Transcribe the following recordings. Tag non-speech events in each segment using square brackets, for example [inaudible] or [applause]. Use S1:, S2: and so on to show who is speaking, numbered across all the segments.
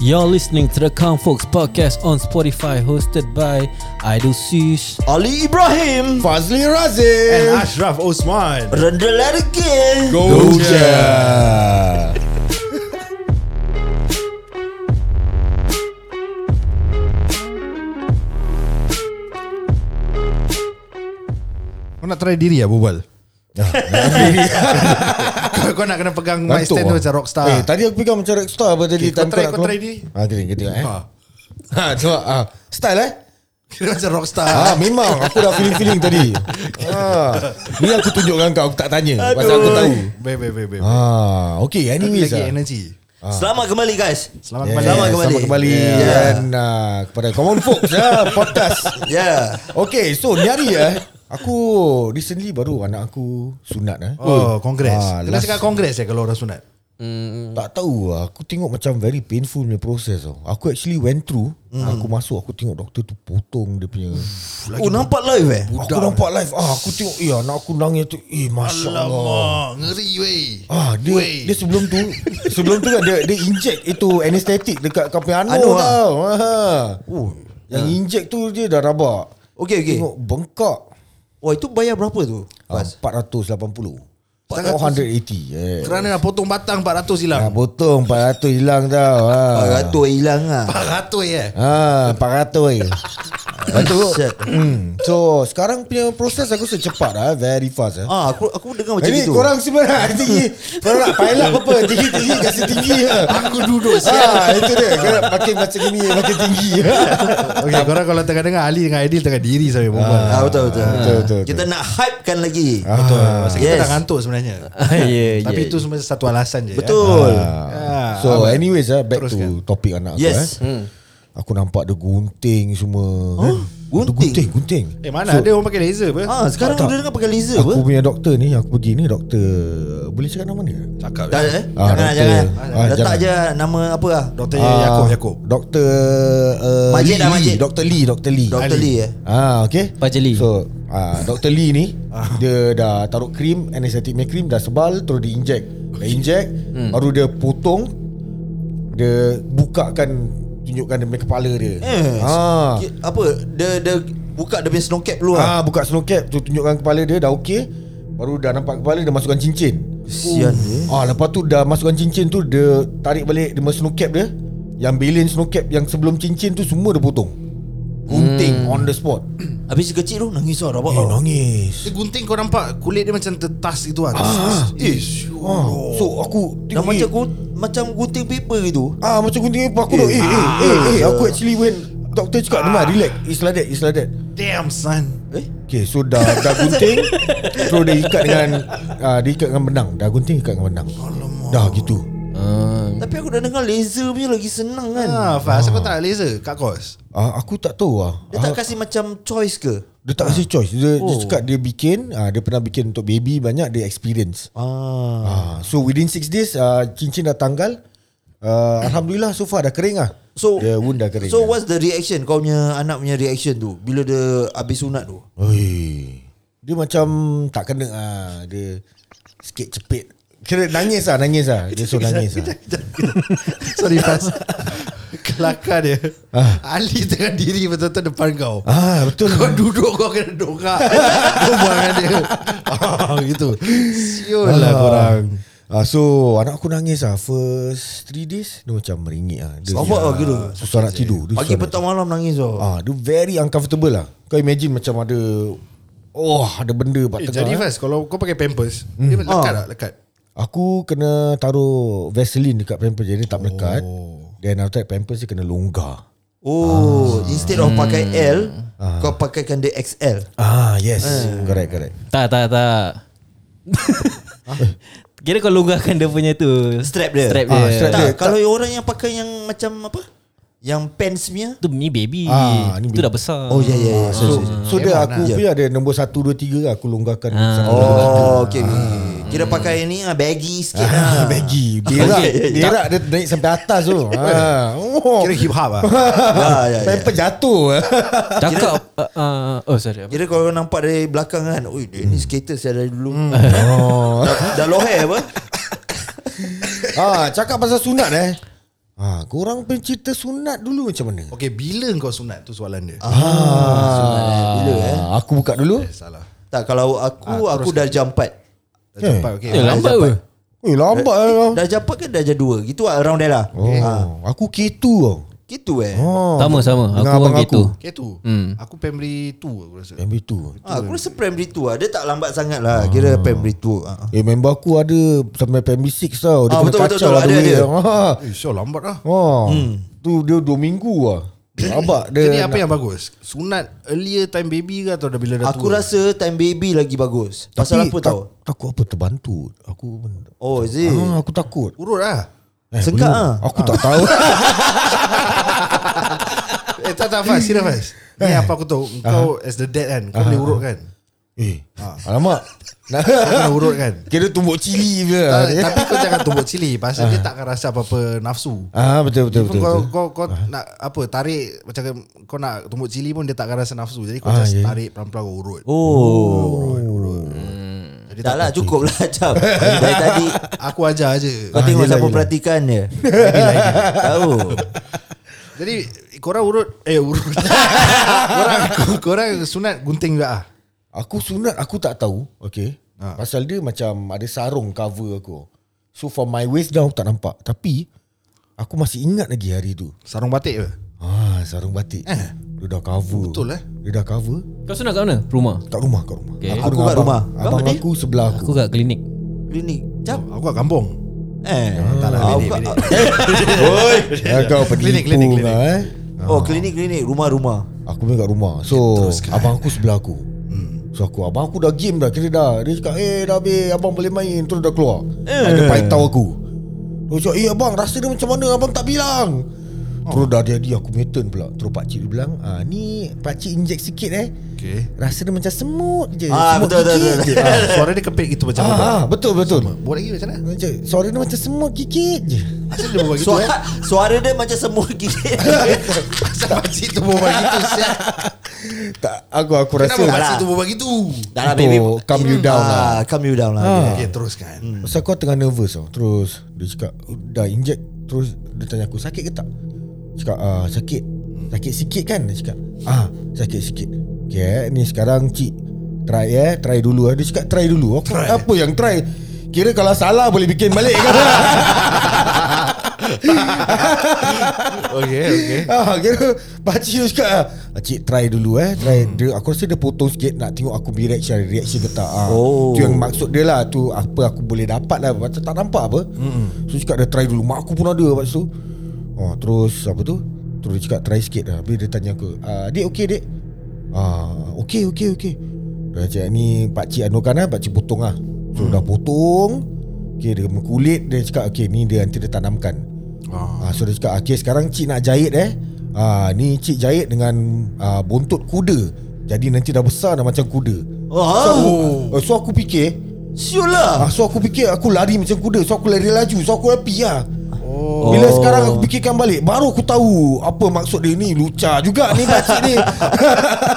S1: You're listening to the Kang Folks podcast on Spotify, hosted by Idol Sush.
S2: Ali Ibrahim
S3: Fazli
S4: And
S3: Razif
S4: Ashraf Osman
S2: Rendah lagi
S3: Go, je Kau nak try diri ya berbual? [laughs] kau, kau nak kena pegang mic
S5: Ngantuk
S3: stand tu
S5: ah.
S3: macam rockstar
S5: Eh tadi aku pegang macam rockstar Apa tadi
S4: Okay, kau
S5: time
S4: try,
S5: nak
S4: kau
S5: keluar.
S4: try diri.
S5: Ha tadi kita tengok eh [laughs]
S3: Ah.
S5: Ha cuba ha. Style eh
S3: Kira macam rockstar [laughs]
S5: Ha memang Aku dah feeling-feeling tadi ha. Ni aku tunjukkan kau Aku tak tanya Aduh. Pasal aku tahu
S3: Baik baik baik baik
S5: Ha Okay anyways
S3: Lagi
S5: ah.
S3: energy
S2: Selamat kembali guys
S3: Selamat
S5: Yeah,
S3: kembali
S2: Selamat kembali.
S5: Selamat kembali
S2: Yeah.
S5: yeah. Dan uh, kepada Common Folks ya, Podcast
S2: Yeah
S5: Okay so ni hari eh Aku recently baru anak aku sunat eh.
S3: Oh kongres
S5: Ah,
S3: Kena
S5: last-
S3: cakap kongres ya kalau orang sunat
S5: Tak tahu lah. Aku tengok macam very painful punya proses tau Aku actually went through Aku masuk Aku tengok doktor tu potong dia punya
S2: Oh nampak live eh
S5: Aku nampak live ah, Aku tengok Eh anak aku nangis tu Eh Masya Allah
S3: Oh ngeri weh
S5: Ah, dia,
S3: Weh.
S5: dia sebelum tu Sebelum tu kan dia, dia inject itu Anesthetic dekat kau punya anu
S2: Anu, ah.
S5: tau ha. Yang inject tu dia dah rabak
S2: Okay, okay.
S5: Tengok bengkak
S2: Wah itu bayar berapa tu
S5: ah,
S2: Bas
S5: 480 480 eh.
S3: Kerana nak potong batang 400 hilang
S5: Ah, potong 400 hilang tau ha.
S2: 400 hilang lah
S3: 400 ya
S5: Ah, 400 eh. [laughs] Lepas tu
S2: Shit.
S5: hmm, So sekarang punya proses aku secepat lah Very fast lah
S2: Ah, aku aku dengar macam
S5: Ini
S2: itu.
S5: korang semua nak [laughs] tinggi Korang nak pilot [laughs] apa Tinggi-tinggi kasi tinggi Aku duduk ah, Itu dia Korang makin macam gini Makin tinggi [laughs]
S3: Ya. [laughs] Okay korang kalau tengah dengar Ali dengan Aidil tengah diri sampai berbual
S2: Ah, betul, betul,
S5: betul, betul, Ah.
S2: Kita nak hypekan lagi.
S3: Betul Pasal kita
S2: Yes.
S3: dah
S5: kan?
S3: ngantuk sebenarnya [laughs]
S1: yeah,
S3: Tapi
S1: yeah.
S3: itu semua satu alasan je ya.
S2: Betul.
S3: Ah,
S5: So
S3: apa?
S5: anyways ah, Back
S3: Teruskan.
S5: to topik anak aku
S2: Yes.
S5: eh. Aku nampak dia gunting semua huh?
S2: Oh, Gunting?
S5: Gunting Gunting
S3: Eh mana ada orang pakai laser apa?
S2: Ah, sekarang
S5: Tak, tak.
S2: dia dengar pakai laser
S5: Aku
S2: apa?
S5: punya doktor ni Aku pergi ni doktor Boleh cakap nama dia?
S3: Cakap
S2: Tak eh?
S5: Ah,
S2: jangan
S5: doktor.
S2: jangan.
S5: Ah,
S2: Letak
S5: jangan.
S2: je nama apa lah.
S3: Doktor
S5: Ah,
S3: Yaakob Yaakob
S5: Dr. Uh,
S2: Majid lah, Majid.
S5: Dr. Lee Dr. Lee
S2: Dr.
S5: Ali.
S2: Lee, eh?
S5: Ah okay
S1: Pakcik Lee.
S5: So ah, Dr. Lee ni
S2: Ah.
S5: Dia dah taruh krim Anesthetic punya krim Dah sebal Terus dia inject Dia inject Baru dia potong Dia bukakan Tunjukkan dia punya kepala dia
S2: Eh,
S5: ah.
S2: Ki- Apa? Dia dia buka dia punya snow cap keluar.
S5: ah, Buka snow cap tu Tunjukkan kepala dia Dah okay Baru dah nampak kepala Dia masukkan cincin
S2: Kesian dia.
S5: Ah lepas tu dah masukkan cincin tu dia tarik balik dia punya snow cap dia. Yang bilin snow cap yang sebelum cincin tu semua dia potong.
S2: Hmm.
S5: Gunting on the spot.
S2: Habis si kecil tu nangis lah rabak.
S5: Eh
S2: lah.
S5: nangis.
S3: Dia gunting kau nampak kulit dia macam tertas gitu lah ah.
S2: Ish.
S5: Ah, so aku
S2: Dah
S5: tengok,
S2: macam
S5: eh,
S2: gun, macam gunting paper gitu.
S5: ah macam gunting apa aku eh, eh, eh, eh, eh,
S2: Ah.
S5: aku actually when doktor cakap ah. relax it's like that it's like that.
S3: Damn son
S2: Eh?
S5: Okay so dah dah gunting Terus dia ikat dengan ah, Dia ikat dengan benang Dah gunting ikat dengan benang Alamak. Dah gitu
S2: Tapi aku dah dengar laser punya lagi senang kan.
S3: Ah, Faz, kau tak nak laser kat kos?
S5: ah, Aku tak tahu lah
S2: Dia tak kasi macam choice ke?
S5: Dia tak kasi choice Dia, oh. dia
S2: Oh.
S5: cakap dia bikin uh, Dia pernah bikin untuk baby Banyak dia experience
S2: Ah.
S5: uh, So within 6 days uh, Cincin dah tanggal uh, Alhamdulillah so far dah kering lah
S2: So
S5: Dia wound dah kering ah.
S2: So what's the reaction kau punya anak punya reaction tu bila dia habis sunat tu?
S5: Oi. Dia macam tak kena ah Dia sikit cepit Kira nangis lah Nangis lah Dia so nangis lah
S3: Sorry Faz [laughs] Kelakar dia ah. Ali tengah diri betul-betul depan kau
S5: Ah betul
S3: Kau duduk kau kena dongak Kau buang dengan dia ah, Gitu [laughs] Siul lah korang
S5: Ah, so anak aku nangis ah first 3 days dia macam meringik ah. Dia
S2: Sabar lah gitu.
S5: susah nak tidur. Dia
S2: Pagi
S5: susah nak
S2: petang malam nangis oh. tu.
S5: Ah, dia very uncomfortable lah. Kau imagine macam ada oh, ada benda
S3: eh,
S5: kat
S3: Hmm.
S5: tengah.
S3: Jadi
S5: eh.
S3: Faz Kalau kau pakai pampers Dia lekat
S2: Ah.
S3: tak? Lekat
S5: Aku kena taruh Vaseline dekat pampers jadi tak melekat.
S3: Oh.
S5: Then after that pampers dia kena longgar.
S2: Oh,
S5: Ah.
S2: instead of pakai L, kau pakaikan dia XL.
S5: Ah, yes. Uh. Correct, correct.
S1: Tak, tak, tak. [laughs] Kira kau longgarkan dia punya tu
S2: Strap dia.
S1: Strap dia,
S5: Ah, strap
S2: tak,
S5: dia.
S2: kalau orang yang pakai yang macam apa? Yang pants punya.
S1: Tu ni baby
S5: Ah, ni
S1: Itu
S5: baby.
S1: dah besar
S2: Oh ya ya. ya.
S5: So, so dia
S3: Memang
S5: aku
S2: lah.
S5: punya ada nombor 1 2 3 lah, aku longgarkan.
S1: Ah.
S5: satu, dua, tiga.
S2: Oh, okay. Kira pakai ni ah baggy sikit. Ah.
S5: Ah, baggy Berak
S2: Okay, yeah, yeah.
S5: Berak dia naik sampai atas tu ah. oh.
S3: Kira hip hop [laughs] lah
S2: Ah, ya, ya.
S5: Pamper jatuh [laughs]
S1: Cakap uh, uh, Oh sorry
S2: Kira kalau orang nampak dari belakang kan, oi dia ni skater saya dari dulu. [laughs] dah, dah low hair apa?
S5: ah, Cakap pasal sunat eh Ha, korang pun cerita sunat dulu macam mana?
S3: Okay bila kau sunat tu soalan dia ah.
S5: Ah, bila, eh? Aku buka dulu.
S3: Salah
S2: Tak kalau aku Aku dah jam 4
S3: Dah cepat okay
S1: Eh lambat ke?
S5: Eh, lambat eh. kau.
S2: Dah jam 4 ke dah jam 2 Gitu lah around there lah
S5: Oh, aku K2 tau.
S2: Gitu eh
S5: Oh,
S1: Sama sama
S5: dengan
S1: Aku pun
S5: abang
S1: gitu
S3: Okay tu hmm. Eh. Aku primary 2 aku rasa
S5: Primary 2.
S2: Ah, Aku rasa primary 2 lah Dia tak lambat sangat lah Kira primary 2 ah.
S5: Eh member aku ada sampai primary 6 tau. Dia
S2: Ah,
S5: kena
S2: betul, betul,
S5: kacau
S2: betul.
S5: lah
S2: Ada, Hmm.
S5: duit.
S2: ada.
S5: Ha.
S3: Eh syok lambat lah
S5: Ha. Tu dia 2 minggu lah. Abak dia.
S3: Jadi apa yang bagus Sunat earlier time baby ke Atau dah bila dah
S2: Aku
S3: tua
S2: rasa time baby lagi bagus Pasal apa tau
S5: Takut apa terbantu. Aku pun-
S2: Oh is it
S5: Ah, aku takut. Eh,
S3: Urut lah
S2: Sengkak
S5: belum.
S2: ah.
S5: Aku tak
S2: [laughs]
S5: tahu.
S3: [laughs] Eh tak tak Faz Serius Faz Ni apa aku
S5: [laughs]
S3: tahu Kau as the dad kan Kau boleh urut kan
S5: eh,
S2: Ah.
S5: alamak.
S2: [laughs]
S3: Kau kena urut
S5: [laughs]
S3: kan
S5: Kira tumbuk cili je.
S3: Ta- Tapi kau jangan tumbuk cili Pasal dia tak akan rasa apa-apa nafsu
S5: Ah betul betul
S3: Even
S5: betul.
S3: kau,
S5: betul.
S3: kau, kau nak apa Tarik Macam kau nak tumbuk cili pun Dia tak akan rasa nafsu Jadi kau
S5: Ah,
S3: just
S5: ya.
S3: tarik Pelan-pelan kau urut
S2: Oh Tak lah cukup lah Cap Dari tadi
S3: Aku ajar
S5: [laughs]
S3: Ah. je
S2: Kau tengok siapa perhatikan dia Tahu
S3: Jadi korang urut Eh urut [laughs] korang, korang sunat gunting juga ah.
S5: Aku sunat aku tak tahu. Okay. Ha. Pasal dia macam ada sarung cover aku. So for my waist down aku tak nampak. Tapi aku masih ingat lagi hari tu.
S3: Sarung batik ke
S5: Ah, sarung batik. Eh. Dia dah cover.
S3: Betul, eh?
S5: Dia dah cover.
S1: Kau sunat kat mana? Rumah
S5: Kat rumah, kat rumah.
S1: Okay.
S2: Aku
S5: dengan
S2: kat rumah. Kau
S5: Abang
S2: apa dia?
S5: aku sebelah aku.
S1: Aku kat klinik
S2: Klinik Cap
S3: Aku kat kampung
S2: Eh
S3: Tak lah
S2: Ah,
S3: bedek,
S2: kau-
S3: bedek.
S2: Oi.
S5: Ya, kau penipu
S3: Klinik, klinik,
S5: kau,
S3: klinik.
S5: eh.
S2: Oh klinik klinik Rumah-rumah
S5: Aku pun kat rumah. So, abang aku sebelah aku. So aku Abang aku dah game dah Kira dah Dia cakap Eh dah habis Abang boleh main Terus dah keluar Ada paitau aku Dia cakap Eh abang rasa dia macam mana Abang tak bilang Terus dah dia dia Aku punya turn pula Terus pakcik dia bilang ah, Ni pakcik inject sikit eh
S3: Okay
S5: Rasa dia macam semut je
S2: Ah,
S5: Semut
S2: betul, betul,
S5: gigit
S2: betul,
S5: je.
S3: Ah, Suara dia kepit gitu macam
S5: Ah, ah,
S3: ah.
S5: Betul betul
S3: Buat lagi macam mana
S5: Macam, Suara dia macam semut gigit je
S3: Asal dia buat gitu eh
S2: Suara, suara dia macam semut gigit
S3: [laughs] Asal pakcik tu buat gitu siap
S5: Tak Aku aku rasa
S3: Kenapa pakcik
S2: lah.
S3: tu buat gitu
S2: Dah lah
S5: Untuk
S2: baby
S5: calm you down lah.
S2: Ah, Calm you down lah
S5: Ah.
S3: Okay teruskan
S5: Pasal aku tengah nervous tau Terus Dia cakap Dah inject Terus dia tanya aku Sakit ke tak Cakap ah, sakit Sakit sikit kan Dia cakap ah, Sakit sikit Okay eh, ni sekarang cik Try eh Try dulu eh." Dia cakap try dulu aku, try. Apa yang try Kira kalau salah boleh bikin balik kan
S3: Okay okay
S5: [laughs] ah, Kira Pakcik tu cakap ah, Cik try dulu eh try. Dia, Aku rasa dia potong sikit Nak tengok aku punya reaction Reaction ke tak ah.
S2: Oh.
S5: Tu yang maksud dia lah Tu apa aku boleh dapat lah Macam tak nampak apa mm So cakap dia try dulu Mak aku pun ada Lepas tu oh, Terus apa tu Terus dia cakap try sikit lah Habis dia tanya aku ah, Dek okey dek ah, Okey okey okey Dia cakap ni Pakcik anukan lah Pakcik potong lah So dah potong Okay dia mengkulit Dia cakap okay ni dia nanti dia tanamkan Ah. so dia cakap Okay sekarang cik nak jahit eh ah, Ni cik jahit dengan ah, Bontot kuda Jadi nanti dah besar dah macam kuda So,
S2: Oh,
S5: aku, so aku fikir
S2: Sure lah
S5: ah, So aku fikir aku lari macam kuda So aku lari laju So aku happy lah Oh. Bila sekarang aku fikirkan balik Baru aku tahu Apa maksud dia ni Lucah juga ni pakcik ni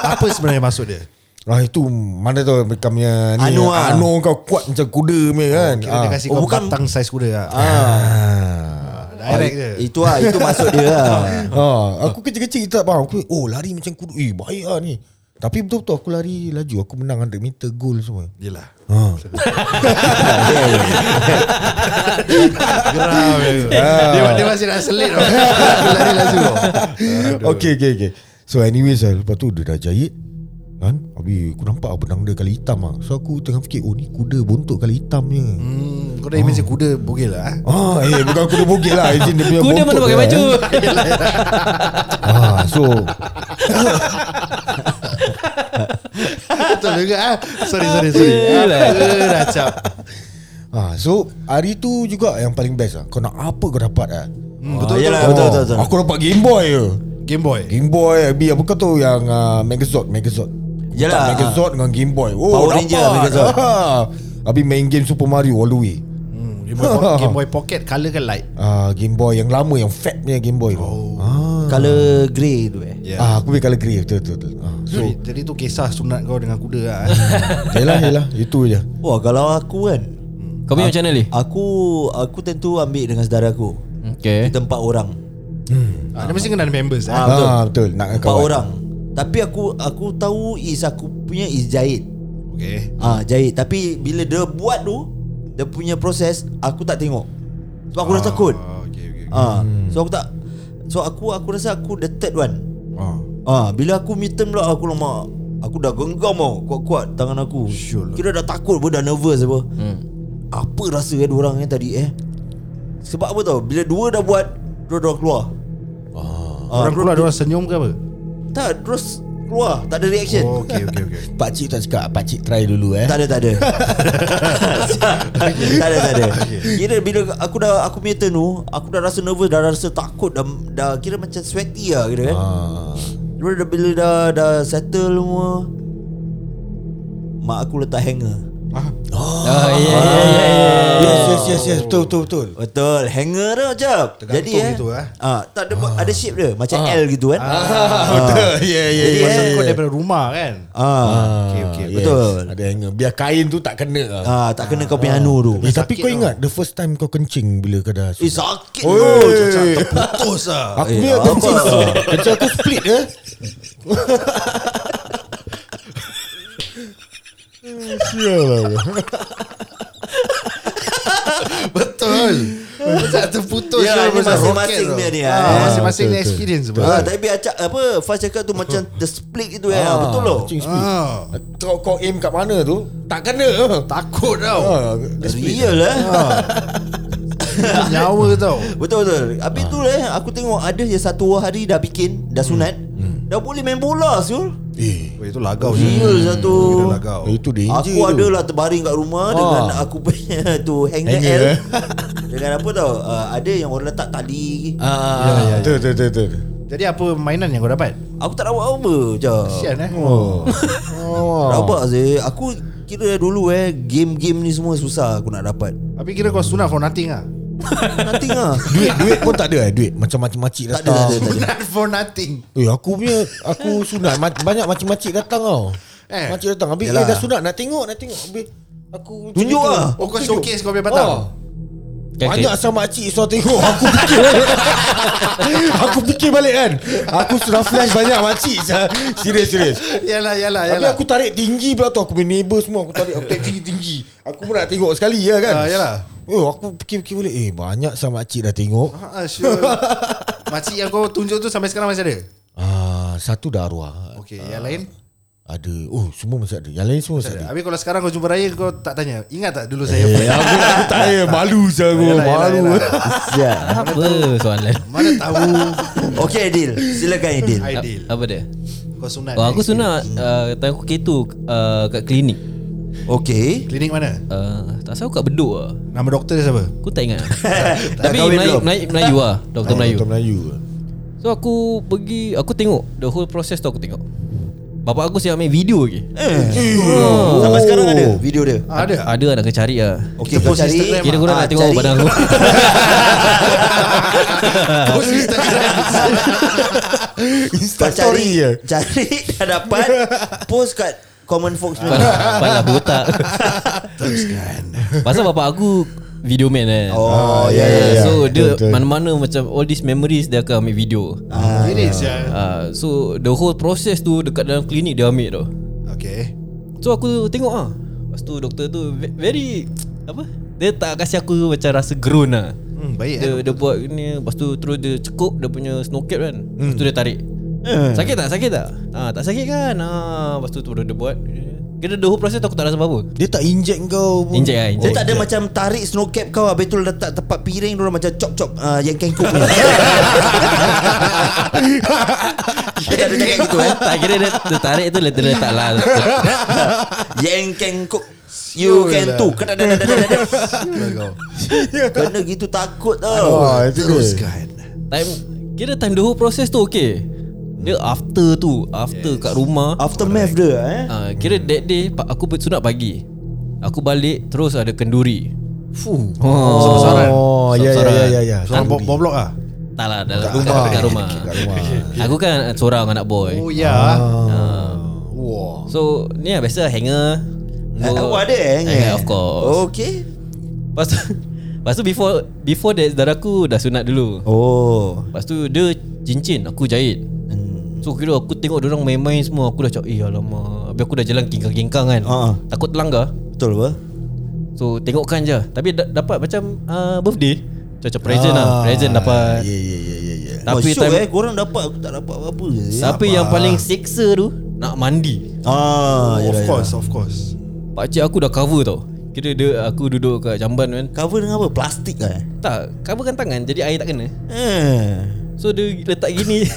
S3: Apa sebenarnya maksud dia
S5: [laughs] Ah itu Mana tahu mereka punya ni,
S2: Anu ah.
S5: Anu lah. kau kuat macam kuda punya kan
S3: Kira dia kasih
S2: Oh,
S3: kau
S2: bukan-
S3: batang saiz kuda lah
S5: ah.
S3: Direct dia
S2: Itu lah Itu maksud dia lah
S5: Ha, aku kecil-kecil kita tak faham. Aku oh lari macam kuda. Eh baik lah ni. Tapi betul-betul aku lari laju. Aku menang 100 meter goal semua.
S3: Yelah [laughs] ya. dia, dia masih nak selit tau. Ah. [laughs] Dia Lari laju tau.
S5: okay, okay, okay. So anyways lah, lepas tu dia dah jahit. Kan? Habis aku nampak benang dia kali hitam lah. So aku tengah fikir, oh ni kuda bontot kali hitam je.
S3: Hmm, Kau dah imagine kuda bugil lah eh?
S5: Ah, eh bukan kuda bogel lah. Izin dia punya
S1: Kuda
S5: bontot
S1: mana pakai
S5: dia, [laughs]
S1: baju
S5: eh. Ah, so
S3: [laughs] Betul juga ah. Sorry sorry sorry
S1: Yelah.
S3: Apa dah cap
S5: ah, so hari tu juga yang paling best lah. Kau nak apa kau dapat lah.
S2: Ah,
S3: Hmm, Betul betul
S2: yelah.
S3: betul.
S2: betul, betul, betul.
S5: oh, Aku dapat Game Boy je.
S3: Game Boy
S5: Game Boy Abi apa kau tu yang uh, Megazord Megazord
S2: Yalah.
S5: Bukan Megazord dengan Game Boy oh, Ah.
S2: Power Ranger, Megazord.
S5: Abi main game Super Mario all the way
S3: Hmm, Game Boy, po- Game Boy Pocket Color kan light
S5: uh, Game Boy yang lama yang fat punya Game Boy oh. ah.
S2: Color grey tu eh
S3: Yeah.
S5: ah aku punya color grey betul betul, betul. Ah, so
S3: Jadi, jadi tu kisah sunat kau dengan kuda lah eh.
S5: yalah yalah itu je
S2: Wah kalau aku kan
S5: Ah.
S1: Kau punya macam mana Li?
S2: Aku Aku tentu ambil dengan saudara aku
S1: Okay.
S2: Kita empat orang
S3: Ah, dia mesti kena ada members eh.
S2: Ah,
S5: Ah, betul. Nak
S2: Empat
S5: kawan.
S2: orang Tapi aku Aku tahu Is aku punya Is jahit
S3: Okay.
S2: Ah jahit Tapi bila dia buat tu Dia punya proses Aku tak tengok Sebab aku dah takut
S3: Ah, Hmm. okay, okay.
S2: ah, So aku tak So aku aku rasa aku the third one
S3: Ah.
S2: ah, Bila aku meet pula aku lemak Aku dah genggam tau Kuat-kuat tangan aku
S3: Sure lah.
S2: Kira dah takut pun dah nervous apa
S3: Hmm.
S2: Apa rasa eh orang eh tadi eh Sebab apa tau Bila dua dah buat Dua dah keluar ah,
S3: Orang keluar dia orang senyum ke apa?
S2: Tak terus keluar Tak ada reaction
S3: Oh, okay, okay, okay.
S5: Pak cik tak cakap pak cik try dulu eh.
S2: Tak ada
S5: [laughs]
S2: tak ada Tak ada tak ada Kira bila aku dah Aku punya turn tu Aku dah rasa nervous Dah rasa takut Dah, dah kira macam sweaty lah Kira kan
S5: Ah.
S2: Bila, dah, bila dah, dah settle semua Mak aku letak hanger
S1: Oh yeah yeah yeah.
S5: Yes, yes, yes, yes. Betul, betul, betul.
S2: Betul Hanger tu macam
S3: Tergantung
S2: Jadi eh,
S3: gitu, eh.
S2: ah, Tak ada, ada shape dia Macam L gitu kan
S5: Ah. [laughs] Betul. Ya, ya,
S3: Jadi
S5: ya.
S3: yeah, kau daripada rumah kan?
S2: ah.
S3: Okay, okay.
S5: yes.
S2: betul.
S5: Ada hanger. Biar kain tu tak kena lah.
S2: ah, Tak kena kau punya anu tu
S5: Eh, tapi kau ingat the first time kau kencing bila kau dah
S2: Eh sakit
S5: Oi.
S2: tu
S5: [laughs]
S2: Cacat terputus lah
S5: Aku
S2: Eh,
S5: punya
S2: apa?
S5: kencing Kencing aku split eh Sial lah
S3: Betul. Macam terputus
S2: Ya,
S3: lah,
S2: ni
S3: macam
S2: masing-masing
S3: rocket
S2: dia
S3: tu.
S2: ni, ah.
S3: Ah, Masing-masing
S5: Betul,
S3: ni
S5: betul.
S3: experience betul.
S2: Ah, tapi acak apa Faz cakap tu
S5: [laughs]
S2: macam the split gitu eh. Ah, betul loh.
S5: Kencing split
S3: Ah,
S5: Kau kau aim kat mana tu Tak kena
S3: Takut tau.
S5: ah, dia split. Ah.
S2: Real eh.
S3: Nyawa tau.
S2: [laughs] Betul betul. Habis tu eh aku tengok ada je satu hari dah bikin,
S5: Hmm.
S2: dah sunat. Dah boleh main bola Syul.
S5: Eh
S3: Weh, itu lagau.
S2: Real
S5: hmm.
S3: Syul.
S2: satu.
S3: Kira lagau.
S5: Itu lah danger
S2: Aku
S5: tu.
S2: adalah terbaring kat rumah dengan aku punya [laughs] tu hanger
S5: Hanger,
S2: L.
S5: eh.
S2: dengan apa tau? ah, ada yang orang letak tali. Ya.
S5: ah, Betul betul betul, betul
S3: Jadi apa mainan yang kau dapat?
S2: Aku tak rawat apa je.
S3: Sian eh. Oh.
S5: Oh.
S2: Ah. Rabak sih. Aku kira dulu eh game-game ni semua susah aku nak dapat.
S3: Tapi kira kau sunat for nothing ah.
S2: Nothing ah.
S5: [laughs] Duit duit pun tak ada eh Duit macam lah. macam-macam
S2: Tak ada, tak
S5: datang
S2: ada, tak ada.
S3: Sunat for nothing.
S5: Eh aku punya Aku sunat ma- Banyak macam-macam datang tau
S3: Eh.
S5: eh. Macam datang Habis
S2: Yalah.
S5: eh, dah sunat Nak tengok Nak tengok Habis Aku macam
S2: Tunjuk
S5: gitu.
S2: lah.
S3: Oh kau
S5: Tunjuk.
S3: showcase kau punya batang.
S5: Ah. Banyak asal makcik Suruh tengok [laughs] Aku fikir Aku fikir balik kan Aku sudah flash banyak makcik sia. Serius serius
S3: Yalah yalah
S5: Tapi
S3: yalah.
S5: aku tarik tinggi pula tu Aku punya neighbour semua Aku tarik Aku tarik tinggi-tinggi Aku pun nak tengok sekali ya kan
S3: Ah, yalah.
S5: Oh aku fikir-fikir balik Eh banyak sama makcik dah tengok
S3: Ah, sure. [laughs] Makcik yang kau tunjuk tu sampai sekarang masih ada?
S5: Ah, Satu dah arwah
S3: Okay, yang lain?
S5: Ada Oh semua masih ada Yang lain semua masih ada
S3: Habis kalau sekarang kau jumpa raya kau tak tanya. Ingat tak dulu saya?
S5: Eh, aku, aku tak payah Malu saya aku
S3: Yalah, yalah,
S5: Malu
S3: yalah.
S1: Apa soalan?
S3: Mana tahu [laughs]
S2: Okey Adil, silakan Adil.
S3: Aidil.
S1: Apa dia?
S3: Kau sunat.
S1: Oh, aku sunat uh, time aku K2 uh, kat klinik.
S2: Okey.
S3: Klinik mana?
S1: Uh, tak tahu kat Bedok ah.
S3: Nama doktor dia siapa?
S1: Aku tak ingat.
S2: Dah
S1: Tapi
S2: kahwin
S1: Melayu,
S2: belum?
S1: Melayu, Melayu ah, doktor Melayu.
S5: Doktor Melayu
S1: So aku pergi Aku tengok The whole process tu aku tengok Bapak aku siap main video lagi
S2: Oh. Sampai sekarang ada video dia.
S3: Ah, ada.
S1: Ada nak kena cari lah
S2: Okey, kau
S3: post Instagram
S2: cari.
S1: Kira korang
S2: Ah,
S1: nak tengok
S2: cari. [laughs]
S1: badan aku
S3: [laughs] Post Instagram.
S5: Insta
S2: Kau cari,
S5: story je
S2: cari dah dapat post kat Common Folks dulu.
S1: Pala, pala botak Pasal bapak aku Video man kan
S2: Oh, ya,
S5: ya, ya.
S1: So
S5: Betul,
S1: dia
S5: betul.
S1: mana-mana macam All these memories Dia akan ambil video
S3: Finish ya.
S1: Ah, So the whole process tu Dekat dalam klinik dia ambil tau
S3: Okay.
S1: So aku tengok ah. Lepas tu doktor tu ve- very apa? Dia tak kasi aku macam rasa groan lah.
S3: Hmm, baik eh.
S1: Dia, dia buat ni Lepas tu terus dia cekup Dia punya snow cap kan Lepas tu dia tarik Sakit tak? Sakit tak? Ha, tak sakit kan? Ha, lepas tu terus dia buat Kira the whole process tu aku tak rasa apa-apa
S5: Dia tak inject kau pun
S1: Injek lah
S2: Dia
S1: injek
S2: Oh, tak ada macam tarik snow cap kau habis tu letak tempat piring dia orang macam cop-cop uh, yang kengkuk punya. Dia tak ada cakap gitu eh.
S1: [laughs] Tak kira dia, dia tarik tu Dia letak lah
S2: [laughs] Yang kengkuk You can
S5: lah.
S2: too
S5: [laughs]
S3: Lagau.
S2: Kena gitu takut tau
S5: Oh, itu dia.
S3: Teruskan.
S1: Time Kira time the whole process tu okay Dia after tu After kat
S2: Ah.
S1: rumah
S2: Aftermath dia eh
S1: Ah, kira that day pa- aku bersunat pagi. Aku balik terus ada kenduri.
S3: Fuh.
S1: Oh,
S3: Sasaran.
S5: Oh, ya ya ya ya ya.
S3: Seorang bom bom blok ah.
S1: Tak lah dalam kat rumah.
S5: rumah.
S1: Kat, rumah.
S5: Kat rumah.
S1: [laughs] Aku kan seorang anak boy.
S3: Oh ya.
S5: Wah.
S1: So ni lah biasa hanger.
S2: Oh, ada eh Oh.
S1: hanger of course.
S2: Okey
S1: Lepas tu, [laughs] lepas Lepas tu before Before that Saudara aku dah sunat dulu
S2: Oh Hmm,
S1: Lepas tu dia cincin Aku jahit So kira aku tengok orang main-main semua Aku dah cakap Eh alamak Habis aku dah jalan gingkang-gingkang kan
S2: Ha.
S1: Takut terlanggar
S2: Betul apa?
S1: So tengokkan je Tapi da- dapat macam uh, Birthday Macam present lah
S2: Ah,
S5: Ah,
S1: Present dapat
S3: Ya ya ya ya ya.
S1: Tapi
S2: Tapi oh,
S1: time
S2: time eh korang dapat aku tak dapat apa-apa eh. je.
S1: Tapi yang paling seksa tu Nak mandi
S2: Ah,
S3: Of
S2: yalah,
S3: course, of course. [laughs]
S1: Pakcik aku dah cover tau Kira dia Aku duduk kat jamban kan
S2: yalah. Cover dengan apa? Plastik lah eh?
S1: Tak Cover kan tangan Jadi air tak kena
S2: Eh.
S1: So dia letak gini [laughs]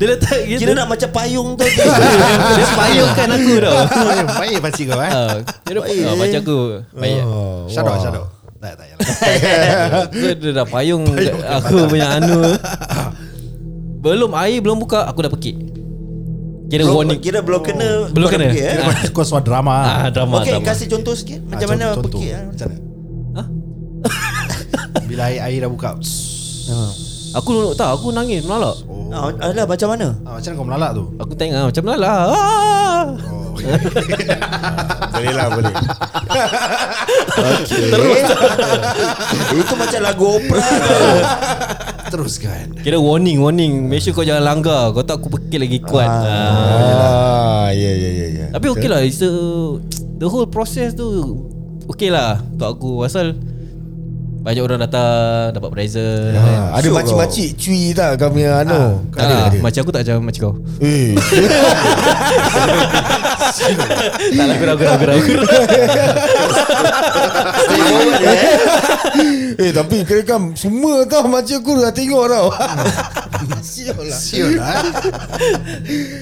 S1: Dia letak gini
S2: Kira nak macam payung tu.
S1: [laughs] Dia payungkan aku
S3: [laughs]
S1: tau
S3: Baik, baik pakcik kau eh.
S1: Ah, Kira uh, Pakcik aku Baik
S3: Oh, shut up, shut up. Tak, tak, yalah.
S1: So dia dah payung, kat Aku punya anu Belum air belum buka Aku dah pekik Kira warning Oh.
S2: Kira belum kena
S1: Belum
S2: kau
S1: kena.
S2: dah fikir, eh?
S3: Kira kau- kau suara
S1: Ah,
S3: drama.
S1: drama,
S2: Okey,
S1: drama.
S2: kasih contoh sikit macam mana pekik ah.
S3: Macam mana? [laughs] Bila air air dah buka.
S1: Aku tak Aku nangis melalak
S3: Oh.
S2: Ah, alah macam [laughs] mana?
S3: Ah, macam mana kau melalak
S5: [laughs]
S3: tu?
S1: Aku tengok macam melalak ah.
S5: Boleh lah
S2: [laughs]
S5: boleh
S2: Terus.
S3: Eh,
S2: Itu macam lagu lah. opera.
S5: [laughs]
S3: Teruskan.
S1: Kira warning warning Make sure kau jangan langgar Kau tak aku pekik lagi kuat ah.
S5: Ah ya ya ya ya
S1: Tapi okay lah It's a, The whole process tu Okay lah Untuk aku Pasal Banyak orang datang Dapat present kan.
S5: Ah, ada
S2: Syok
S5: makcik-makcik cui tak kau punya anu.
S1: Tak lah Macam aku tak macam macam
S5: [laughs]
S1: kau
S5: Eh,
S1: Tak lah gurau gurau gurau
S5: eh tapi kira kan semua tau makcik aku dah tengok [laughs] tau.
S3: [laughs] Siul lah.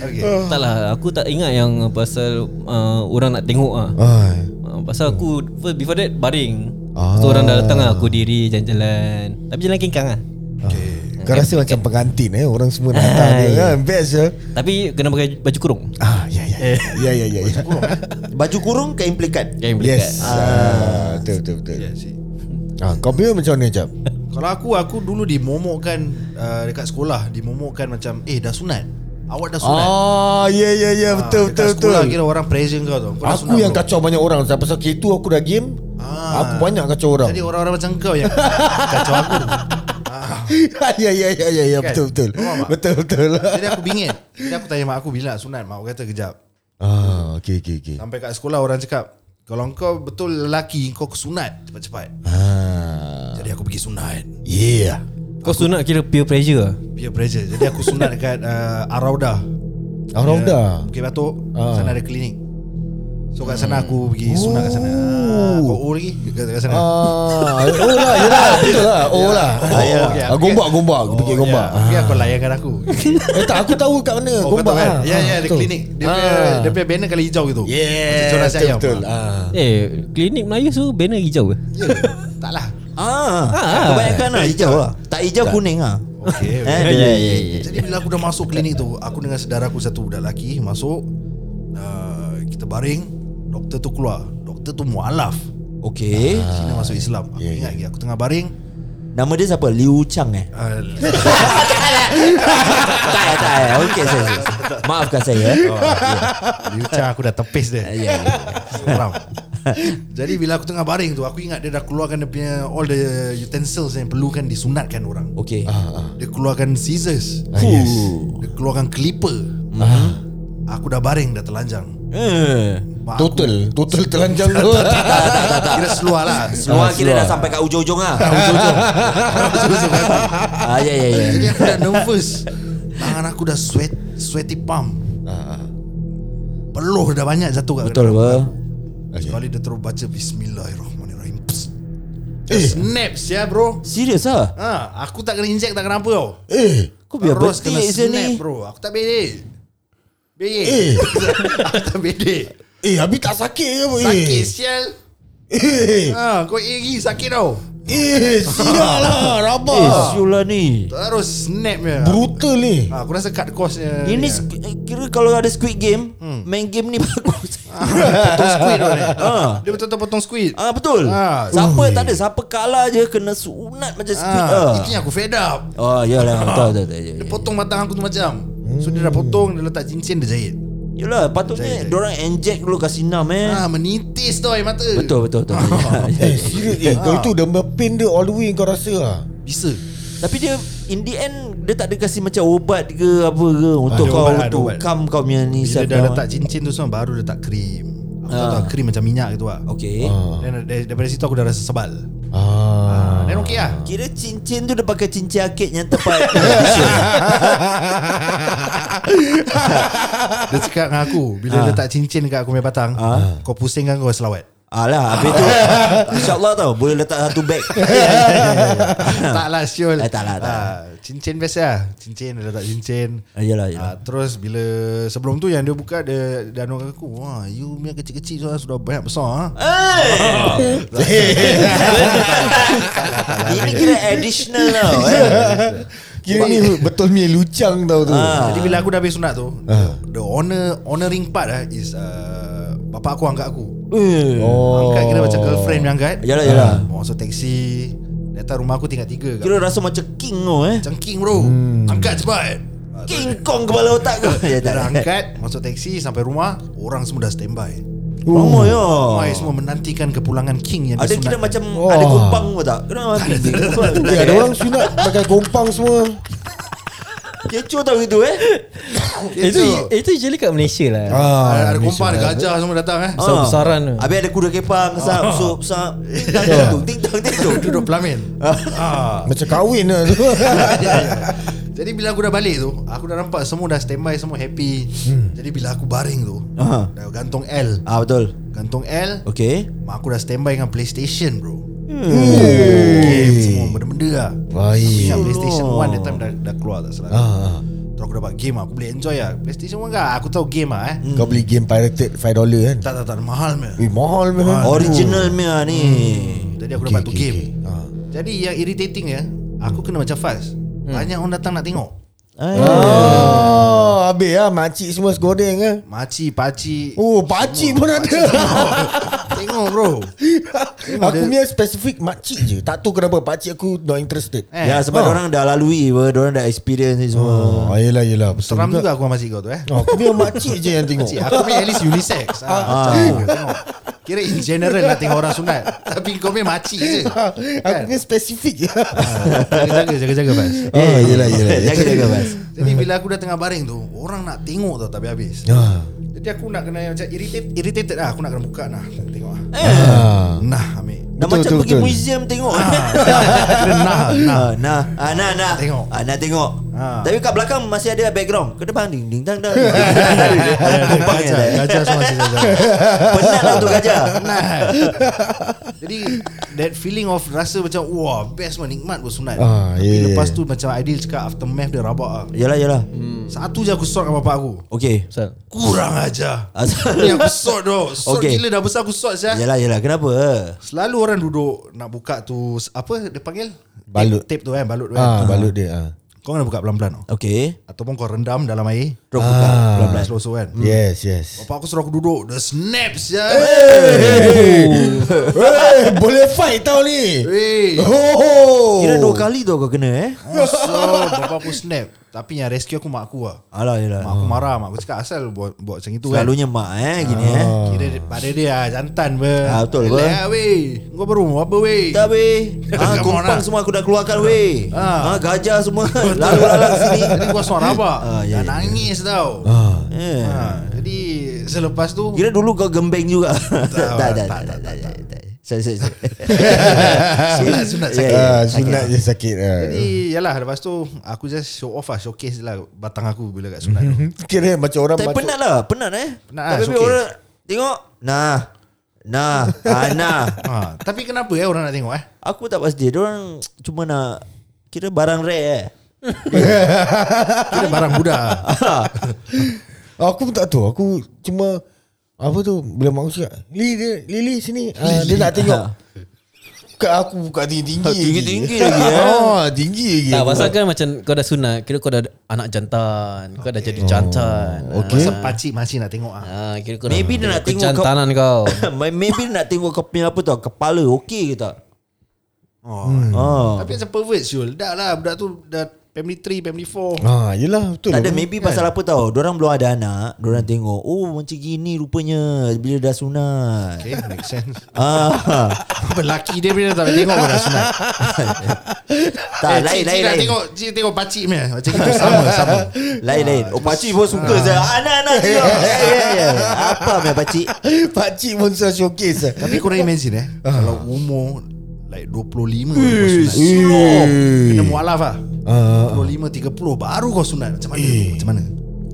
S3: Okay.
S1: [laughs] Tak lah Aku tak ingat yang Pasal uh, Orang nak tengok ah.
S5: Ai.
S1: Uh, pasal aku first, Before that baring
S5: Ah.
S1: So orang dah datang lah Aku diri jalan-jalan Tapi jalan kengkang lah
S3: Okay.
S5: Ah. Kau rasa macam pengantin eh orang semua datang
S3: Ah, ya,
S5: dia kan best je.
S1: Tapi kena pakai baju kurung
S5: Ah ya ya.
S3: Eh.
S5: Ya ya ya ya.
S2: Baju kurung ke implikan?
S1: Jangan beli
S5: Yes. Ah, betul betul betul.
S3: Yeah, see.
S5: Ah, kau punya macam mana jap?
S3: Kalau aku Aku dulu dimomokkan uh, Dekat sekolah Dimomokkan macam Eh dah sunat Awak dah sunat
S5: Ah, ya ya ya betul
S3: dekat
S5: betul
S3: sekolah
S5: betul.
S3: kira orang pressure kau tau kau dah
S5: Aku
S3: sunat
S5: yang
S3: belum?
S5: kacau banyak orang Sebab pasal K2 aku dah game
S3: Ah.
S5: Aku banyak kacau orang [laughs]
S3: Jadi orang-orang macam kau yang [laughs] Kacau aku
S5: Ya ya ya ya ya
S3: Kan?
S5: betul betul [laughs]
S3: Faham tak?
S5: Betul betul
S3: Jadi aku bingit Jadi aku tanya mak aku Bila nak sunat Mak aku kata kejap
S5: Ah, okey okey okey.
S3: Sampai kat sekolah orang cakap Kalau kau betul lelaki Kau sunat cepat-cepat
S5: Ah.
S3: Jadi aku pergi sunat
S5: Yeah.
S1: Kau sunat kira peer pressure lah
S3: Peer pressure Jadi aku sunat dekat uh, Arauda Ya.
S5: Orang dah.
S3: Bukit Batok
S5: Ah.
S3: Sana ada klinik So kat sana aku pergi sunat kat sana Ah, Kau O lagi Kat kat sana [laughs]
S5: Oh. Ah, oh lah, yelah, betul lah, oh lah. Oh,
S3: ya.
S5: okay. Ah, gombak, gombak, oh, pergi gombak.
S3: Ya, Pergi aku layankan
S5: [laughs]
S3: aku.
S5: Ah. Eh tak, aku tahu kat mana
S3: Oh,
S5: gombak.
S3: betul kan?
S5: ah.
S3: Ya,
S5: Ah,
S3: ya, di
S5: betul.
S3: klinik. Dia punya,
S5: Ah.
S3: dia punya banner kali hijau gitu.
S5: Yeah,
S3: Macam
S5: betul,
S3: ayam.
S5: betul.
S3: Ah.
S5: Ah.
S1: Eh klinik Melayu tu banner hijau ke?
S3: Tak lah.
S2: Ah, kebanyakan lah hijau lah. Tak hijau kuning ah. Eh,
S3: Okay.
S1: Ya ya ya ya.
S3: Jadi bila aku dah masuk klinik tu, aku dengan saudara aku satu budak lelaki masuk. Uh, kita baring, doktor tu keluar. Doktor tu mualaf.
S2: Okey.
S3: Sini masuk Islam. Aku
S5: Ah. yeah,
S3: ingat lagi aku tengah baring.
S2: Nama dia siapa? Liu Chang eh.
S3: Uh,
S2: tak tak. eh. Okey saya. saya. Maafkan saya eh.
S3: Lucah aku dah tepis dia.
S2: Ya, ya.
S3: Seram. Ah, [laughs] Jadi bila aku tengah baring tu Aku ingat dia dah keluarkan dia punya All the utensils yang perlukan disunatkan orang
S2: Okey.
S3: Dia keluarkan scissors
S5: Ah, yes.
S3: Dia keluarkan clipper Aku dah baring dah terlanjang
S2: Eh.
S3: Mak
S5: Total, total telanjang
S3: aku,
S5: tu.
S3: Kira seluar lah
S2: Seluar
S5: Ah,
S2: kira dah
S5: seluar.
S2: sampai kat ujung-ujung ah. Ujung-ujung. [laughs] Ah ya ya ya.
S3: Jadi aku dah nervous Tangan aku dah sweat Sweaty palm Peluh dah banyak jatuh kat
S2: Betul
S3: kepala.
S2: apa?
S5: Okay.
S2: Ya.
S3: Sekali dia terus baca Bismillahirrahmanirrahim Psst.
S5: Eh.
S3: Snap ya bro
S2: Serius ah?
S3: Ha, aku tak kena inject tak kenapa tau.
S5: [laughs] Eh,
S2: Kau biar
S3: Terus kena
S2: betik je
S3: snap
S2: ni.
S3: bro. Aku tak bedek. Bedek.
S5: Eh.
S3: [laughs] aku tak bedek.
S5: eh habis tak sakit ke apa? Eh.
S3: Sakit sial.
S5: Eh,
S3: Ha, kau iri sakit tau.
S5: eh, sial lah,
S2: Eh,
S5: rabak.
S2: siul lah ni.
S3: Terus snap je.
S5: Brutal ni.
S3: Ha, aku rasa cut cost-nya.
S2: Ini
S3: ni.
S2: squ- eh, kira kalau ada Squid Game, main game ni [laughs] bagus.
S3: Ha, potong squid
S2: [laughs]
S3: tu ni.
S2: Ah.
S3: Dia betul-betul potong squid.
S2: Ah betul.
S3: Ah.
S2: Siapa tak ada, siapa kalah je kena sunat macam squid.
S3: Ha,
S2: Ah.
S3: itu yang aku fed up.
S2: Oh, yalah, betul betul betul. ya,
S3: Dia
S2: ya. Hmm.
S3: potong batang aku tu macam. So dia dah potong, dia letak cincin, dia jahit.
S2: Yelah patutnya Diorang inject dulu Kasi enam eh
S3: Ah, menitis tu air mata.
S2: Betul betul Ya, betul
S5: Eh serius
S3: Ah.
S5: eh, Kau itu dah pain dia all the way kau rasa lah
S3: Bisa.
S2: Tapi dia In the end Dia tak ada kasi macam obat ke Apa ke Untuk
S3: Ada
S2: kau
S3: ubat, ada
S2: Untuk
S3: ubat.
S2: calm kau punya ni
S3: Bila
S2: self
S3: dah
S2: down.
S3: letak cincin tu semua baru letak krim. Aku tak
S2: Ah.
S3: tahu krim macam minyak gitu lah.
S2: Okay
S3: Dan dari- daripada situ aku dah rasa sebal. Ah,
S5: ah.
S3: then okey lah.
S2: Kira cincin tu dia pakai cincin akik yang tepat
S3: [laughs] Dia cakap dengan aku Bila ha. letak cincin kat aku punya batang ha. Kau pusingkan kau selawat
S2: Alah Ah, lah, Habis tu InsyaAllah tau Boleh letak satu beg
S3: Eh, [laughs] Tak lah Syul
S2: Eh, tak lah, tak lah.
S3: Ah, Cincin biasa lah Cincin dia letak cincin
S2: Ah, yelah, yelah.
S3: Ah, Terus bila Sebelum tu yang dia buka Dia dan orang aku Wah you punya kecil-kecil Sudah, sudah banyak besar ha? [laughs] Eh!
S2: Ini kira additional tau eh.
S5: Kira
S3: [laughs]
S5: ni betul ni lucang tau tu
S2: Ah.
S3: Jadi bila aku dah habis sunat tu The honor honoring part lah Is uh, Bapak aku angkat aku
S2: Eh.
S5: Oh.
S3: Angkat kira macam girlfriend yang angkat
S2: Yalah, yalah.
S3: Ah, Masuk taksi Datang rumah aku tingkat tiga kat
S2: Kira rasa macam king tu eh
S3: Cengking bro hmm. Angkat cepat Ah,
S2: King Kong kepala otak kau Ya
S3: Dia
S2: [laughs]
S3: dah
S2: tak
S3: angkat Masuk taksi Sampai rumah Orang semua dah standby
S2: Ramai ya
S3: Ramai semua menantikan Kepulangan King yang
S2: Ada
S3: disunat
S2: kira macam
S5: Oh.
S2: Ada kompang pun tak Kena mati
S5: Eh, ada orang sunat pakai kompang semua.
S2: Kecoh tau gitu eh
S1: Itu itu usually kat Malaysia lah.
S3: Ah, Ada
S5: Malaysia.
S3: kompar Ada gajah semua datang eh
S1: Besar-
S2: Ah.
S1: besaran tu.
S2: Habis ada kuda kepang Sap sup sap Ting tang ting tung Ting tang ting tung
S3: Duduk pelamin ah.
S5: Macam kahwin
S3: [laughs]
S5: lah tu.
S3: Jadi bila aku dah balik tu Aku dah nampak semua dah standby Semua happy
S5: Hmm.
S3: Jadi bila aku baring tu
S2: Ah.
S3: Dah gantung L
S2: Ah betul
S3: Gantung L
S2: Okay
S3: Mak aku dah standby dengan Playstation bro Game semua benda-benda lah
S5: Hmm. Baik.
S3: Ingat Playstation 1 That time dah, dah keluar tak salah
S5: Ah, ah.
S3: Terus aku dapat game lah Aku boleh enjoy lah Playstation 1 kan Aku tahu game lah eh
S5: Kau beli game pirated 5 dolar kan?
S3: Tak tak tak Mahal meh
S5: Eh mahal memang.
S2: Original mea ni
S3: Jadi aku
S5: Okay,
S3: dapat tu
S5: okay,
S3: game
S5: okay. Ah.
S3: Jadi yang irritating ya Aku kena macam fast
S5: Hmm.
S3: Banyak orang datang nak tengok
S5: Oh, habis lah makcik semua segoreng ah.
S3: Makcik, pakcik
S5: Oh, pakcik pun ada.
S3: Tengok bro
S5: aku punya spesifik makcik je. Tak tahu kenapa pakcik aku not interested.
S3: Eh,
S2: Ya sebab
S5: ah.
S2: orang dah lalui apa Orang dah experience ni semua
S5: Oh, yelah yelah betul
S3: Seram
S5: juga.
S3: juga aku masih kau tu eh
S5: Oh, aku punya makcik je yang tengok.
S3: Cik, aku punya at least unisex ah, tengok, tengok. Kira in general lah tengok orang sunat Tapi kau punya makcik je
S5: [laughs] Ah,
S3: Kan? Ah,
S5: aku punya
S2: [laughs]
S5: spesifik je.
S3: Jaga-jaga, jaga-jaga Bas Eh,
S5: Oh, yelah yelah.
S2: Jaga Eh, jaga bas
S3: Jadi bila aku dah tengah baring tu Orang nak tengok tau tapi habis
S5: Ah.
S3: Jadi aku nak kena macam irritated, irritated lah Aku nak kena buka nah Tengok lah
S5: Ah.
S3: Nah ambil [laughs]
S2: Dah macam
S5: Betul, betul,
S2: pergi
S5: betul.
S2: museum tengok [laughs]
S3: Kira nah, nah
S2: Nah, nah, ah, nah, nah.
S3: ah, Tengok.
S2: Ah, nak tengok.
S3: Ah.
S2: Tapi kat belakang masih ada background. Ke depan ding ding dang dang. Kompang je.
S3: Gajah, gajah semua masih gajah
S2: Penat lah tu gajah.
S3: Penat Jadi That feeling of Rasa macam Wah best man Nikmat pun sunat
S5: Ah,
S3: Tapi
S5: yeah, yeah,
S3: lepas
S5: yeah.
S3: tu Macam Aidil cakap Aftermath dia rabak lah
S2: Yalah yalah.
S3: Satu je aku sort dengan bapak aku
S2: Okey.
S1: Besar.
S3: Kurang aja
S2: Asal-
S3: Ni aku sort tu Sort
S2: Okay.
S3: okay. gila dah besar aku sort saya
S2: [laughs] Yalah yalah. Kenapa?
S3: Selalu orang duduk Nak buka tu Apa dia panggil
S5: Balut.
S3: Tape, tape tu kan Balut tu kan
S5: Ah, balut dia. Ah.
S3: Kau kena buka pelan-pelan tau.
S2: Okey.
S3: Ataupun kau rendam dalam air
S2: Terus buka
S5: Ah.
S2: pelan-pelan.
S3: Slow-slow kan
S5: Yes, yes.
S3: Bapak aku suruh aku duduk The snaps ya
S5: Hey, Eh, boleh fight tau ni.
S3: Hey
S5: Oh.
S2: Kira dua kali tu kau kena eh.
S3: So bapak aku snap Tapi yang rescue aku mak aku lah
S2: Alah yalah.
S3: Mak aku marah Mak aku cakap asal buat, buat macam
S2: Ah.
S3: itu kan Ah.
S2: Selalunya mak eh gini eh.
S3: Kira pada dia lah Jantan be
S2: Ah, betul apa?
S3: Relax lah weh Kau baru mau apa weh
S2: Tak weh ah,
S3: Come on
S2: Kompang
S3: lah.
S2: semua aku dah keluarkan weh ah.
S3: Ah.
S2: Gajah semua Lah, Lalu-lalu sini
S3: Jadi kau suara rabak
S2: Ah, ya, ya,
S3: Dah nangis tau
S2: Eh.
S3: Ah, Jadi selepas tu
S2: Kira dulu kau gembeng juga. [laughs] Tak tak tak
S3: tak,
S2: tak. tak, tak, tak. Sorry, sorry, sorry.
S3: [laughs] Sunat, sunat,
S2: Ya,
S3: sakit.
S2: ya,
S5: Ah,
S2: sakit.
S5: sunat je sakit. Ah.
S3: Jadi yalah lepas tu Aku just show off lah Showcase lah batang aku Bila kat sunat
S2: [laughs]
S3: tu
S5: Kira macam orang
S2: Tapi penat lah, penat eh.
S3: Penat
S2: Tapi
S3: lah, it's okay.
S2: orang tengok, nah. Nah, ah,
S3: [laughs]
S2: nah.
S3: ha, Tapi kenapa eh orang nak tengok eh
S2: Aku tak pasti. Dia orang cuma nak kira barang rare eh.
S3: Kira barang
S2: [laughs]
S3: budak lah.
S5: Aku pun tak tahu Aku cuma Apa tu Bila mak aku cakap Lili dia Lili sini uh, Dia nak tengok
S2: [laughs]
S5: Bukan aku buka tinggi-tinggi
S2: Ah, tinggi-tinggi
S5: [laughs]
S2: lagi, eh.
S5: oh, Tinggi lagi
S2: Ya,
S1: Tak pasal kan macam kau dah sunat Kira kau dah anak jantan Kau dah jadi
S2: Oh.
S1: jantan
S5: Okay
S3: Pasal pakcik masih nak tengok ah.
S1: Ah, kira kau
S2: Maybe dia nak tengok kau-
S1: Jantanan kau
S2: [coughs] Maybe nak tengok kau punya apa tau, kepala okey ke tak?
S3: Oh. hmm.
S2: Ah.
S3: Tapi macam pervert Syul Dah lah budak tu dah Family 3 Family
S2: [laughs]
S3: 4
S5: Ha, yelah betul.
S2: Tak ada
S5: lah.
S2: maybe pasal apa tau Diorang belum ada anak Diorang tengok Oh macam gini rupanya Bila dah sunat
S3: Okay make sense [laughs]
S2: ah, [laughs]
S3: Lelaki dia punya tak boleh tengok pun dah sunat
S2: Tak
S3: Eh,
S2: lain
S3: cik- cik
S2: lain
S3: nak
S2: lain
S3: tengok Cik tengok pakcik punya Macam itu
S2: [laughs]
S3: sama sama
S2: Lain lain
S3: Ah.
S2: Oh pakcik pun suka saya Anak-anak
S3: [laughs]
S2: juga Ya, ya, ya. Apa punya pakcik
S5: Pakcik Monster Showcase eh.
S3: Tapi korang imagine eh
S2: Ah.
S3: Kalau umur Like 25 baru kau sunat. Kena mualaf lah
S2: Ah,
S3: 25, 30 Baru kau sunat Macam mana Macam mana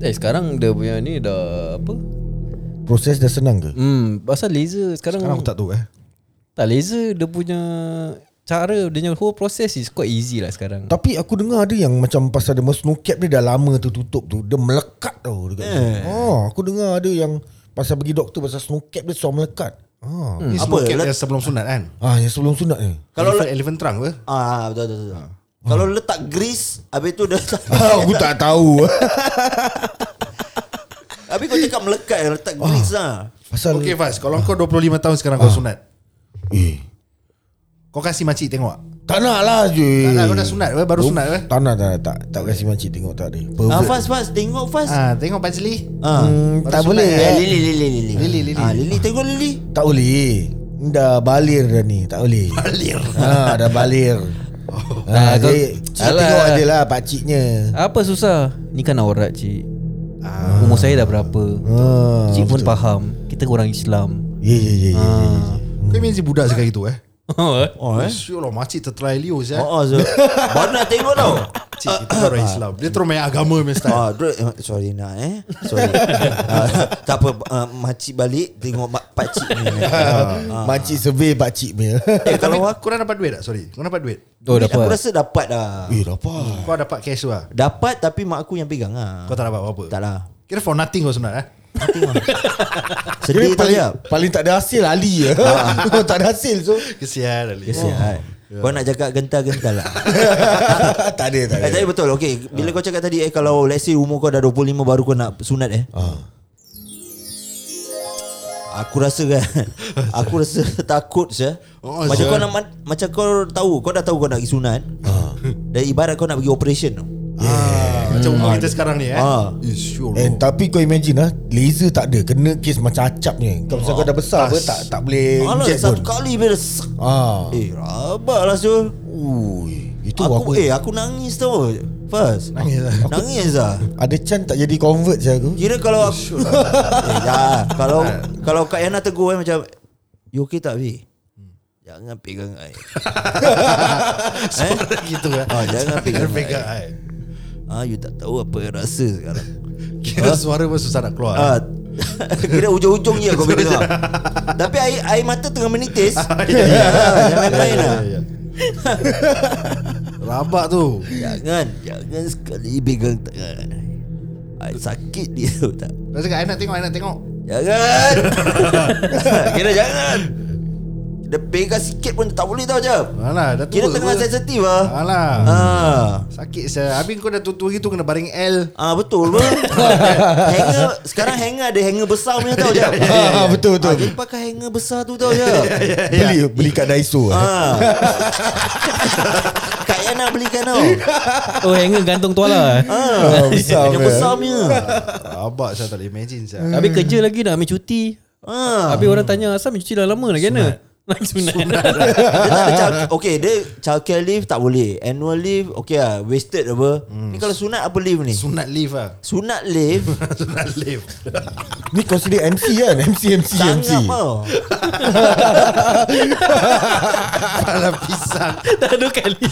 S1: Eh sekarang dia punya ni dah apa?
S5: Proses dah senang ke?
S1: Hmm, pasal laser sekarang,
S3: Sekarang aku tak tahu eh
S1: tak laser dia punya cara dia punya whole process is quite easy lah sekarang.
S5: Tapi aku dengar ada yang macam pasal dia snow cap dia dah lama tu tutup tu. Dia melekat tau dekat eh. Oh, aku dengar ada yang pasal pergi doktor pasal snow cap dia suam melekat. Ha.
S3: Ni
S2: Apa?
S3: semua cap
S2: Let-
S3: yang sebelum sunat kan
S5: Ah, yang sebelum sunat
S3: [laughs]
S5: ni.
S2: Kalau
S3: Kalau elephant, elephant trunk ke
S2: Ah betul betul, betul. Kalau letak grease Habis tu dah tak
S3: Ah.
S5: aku tak tahu.
S2: [laughs] Habis kau cakap melekat Letak grease
S3: Ah.
S2: lah
S5: [laughs] pasal
S3: Okay Faz Kalau
S2: Ah.
S3: kau 25 tahun sekarang kau sunat
S5: eh,
S3: Kau kasih makcik tengok
S5: tak nak lah je.
S3: Tak nak, kau dah sunat ke? Baru
S5: Oh,
S3: sunat ke?
S5: Tak nak, tak nak, tak. Tak kasi makcik tengok tak ada.
S2: ah,
S5: Pervert.
S2: Fast fast Tengok fast
S3: Ah, Tengok Pakcik Lee
S2: ah.
S5: Hmm, tak
S3: Baru
S5: boleh.
S3: sunat,
S5: eh.
S2: Eh, Lili Lili Lili
S3: Lili, Lili.
S2: ah, Lili tengok Lili
S5: Tak boleh. Dah balir dah ni, tak boleh.
S3: [laughs] Alir
S5: ha, dah
S3: [laughs]
S5: balir.
S1: Ah,
S3: Oh,
S5: Ha,
S1: kau-
S5: dia, dia
S1: Alah.
S5: tengok je lah pakciknya.
S1: Apa susah? Ni kan aurat cik.
S2: Ah.
S1: Umur saya dah berapa?
S5: Ha,
S1: cik pun faham. Kita orang Islam.
S5: Ya, ya, ya,
S3: Ah.
S5: ya. ya.
S2: Ah.
S3: Kau imagine budak sekarang itu eh
S2: Oh eh
S3: Syur lah makcik terterlalu
S5: Eh?
S3: saya
S2: Oh, Ah. oh
S5: [laughs]
S2: so. Baru nak tengok tau
S3: Cik kita orang Islam Dia terus main agama punya style
S2: Ah, dr- eh, sorry nak eh. Sorry.
S5: [laughs]
S2: ah, tak apa uh, makcik balik tengok mak pak cik
S5: [laughs]
S2: ni.
S5: Ah. Makcik survey pakcik
S2: [laughs]
S5: punya.
S2: Eh,
S3: Tapi
S2: kalau aku,
S3: korang dapat duit tak? Sorry Korang dapat duit?
S1: Oh
S2: aku
S1: dapat.
S2: rasa dapat lah.
S5: Eh, apa?
S3: Kau dapat cash tu lah
S2: Dapat tapi mak aku yang pegang lah.
S3: Kau tak dapat apa-apa?
S2: Tak lah.
S3: Kira for nothing kau sunat eh? [laughs]
S2: Sedih
S5: Kira
S2: tak
S5: paling,
S2: siap. Ah.
S5: paling tak ada hasil Ali ya. [laughs] tak ada hasil so. Oh.
S3: Kesian lah, Ali
S2: Kesian. Ya, Kau nak cakap gentar-gentar lah.
S5: [laughs] tak ada, tak ada.
S2: eh, tapi betul. Okay, bila kau cakap tadi eh kalau let's say umur kau dah 25 baru kau nak sunat eh.
S5: Ah.
S2: Aku rasa kan Aku rasa takut saya.
S3: Oh,
S2: Oh, macam
S3: sir.
S2: kau nak man- Macam kau tahu Kau dah tahu kau nak pergi sunat Dan ibarat kau nak pergi operation tu
S3: Ah, Macam umur kita sekarang ni eh
S2: Ah.
S3: Eh, Syur
S5: Eh, tapi kau imagine lah Laser tak ada Kena kes macam acap ni Kau pasal kau dah besar apa Tak tak boleh
S2: Alah
S5: Eh, inject
S2: satu
S5: pun
S2: kali bila sek
S5: Ah.
S2: Eh rabak lah Syul
S5: Ui, itu
S2: Aku
S5: aku,
S2: eh aku nangis tau Fas Nangis lah Nangis lah
S5: Ada chance tak jadi convert saya aku
S2: Kira kalau aku [laughs] eh, ya, Kalau Kalau Kak Yana tegur eh macam You okay tak Vi? Jangan pegang air
S3: Suara gitu eh
S2: Ah, jangan
S3: [laughs]
S2: pegang
S3: pegang eh.
S2: ah, You tak tahu apa rasa sekarang
S3: Kira suara pun susah nak keluar
S2: [laughs]
S3: eh. [laughs]
S2: Ah, [laughs] kira ujung-ujung je kau boleh tengok. Tapi air, air mata tengah menitis. [laughs] Ah, Jangan
S3: Ya,
S2: main-main lah.
S3: Rabak tu
S2: Jangan, jangan sekali pegang tangan. Air sakit dia tahu tak.
S3: Rasa cakap I nak tengok I nak tengok
S2: [laughs] Jangan. kira jangan. Dia pegang sikit pun tak boleh tau jap.
S3: Alah dah tua
S2: Kira tengah
S3: pun.
S2: sensitif ah.
S3: Alah
S2: Ah.
S3: Sakit saya Habis kau dah tua-tua gitu Kena baring L
S2: Ah betul
S5: [laughs]
S2: pun. hanger sekarang hanger ada hanger besar punya tau jap.
S5: Ah, betul
S2: Ah,
S5: betul.
S2: dia pakai hanger besar tu tau
S5: Ya,
S2: jap.
S5: Beli beli kat Daiso. ah.
S2: Ya, Ah. [laughs] Kak Yana belikan
S5: [laughs]
S2: tau
S1: Oh hanger gantung
S2: [laughs]
S1: tuala.
S5: Ah, besar.
S2: Yang besar punya
S3: Rabak saya tak boleh imagine
S2: Hmm.
S3: saya
S1: Habis kerja lagi nak ambil cuti.
S5: [laughs]
S2: ah.
S1: Habis orang tanya asal ambil cuti dah lama lagi mana? Nak [laughs] sunat.
S2: Dia tak ada child, Okay dia Childcare leave tak boleh Annual leave Okay lah Wasted apa
S5: Hmm.
S2: Ni kalau sunat apa leave ni
S3: Sunat leave lah [laughs]
S2: Sunat leave
S5: [laughs]
S3: Sunat leave
S5: Ni consider MC kan? [laughs] MC MC MC.
S2: Sangat tau
S3: Kepala
S2: [laughs]
S3: pisang
S1: Dah dua
S3: [laughs]
S1: kali.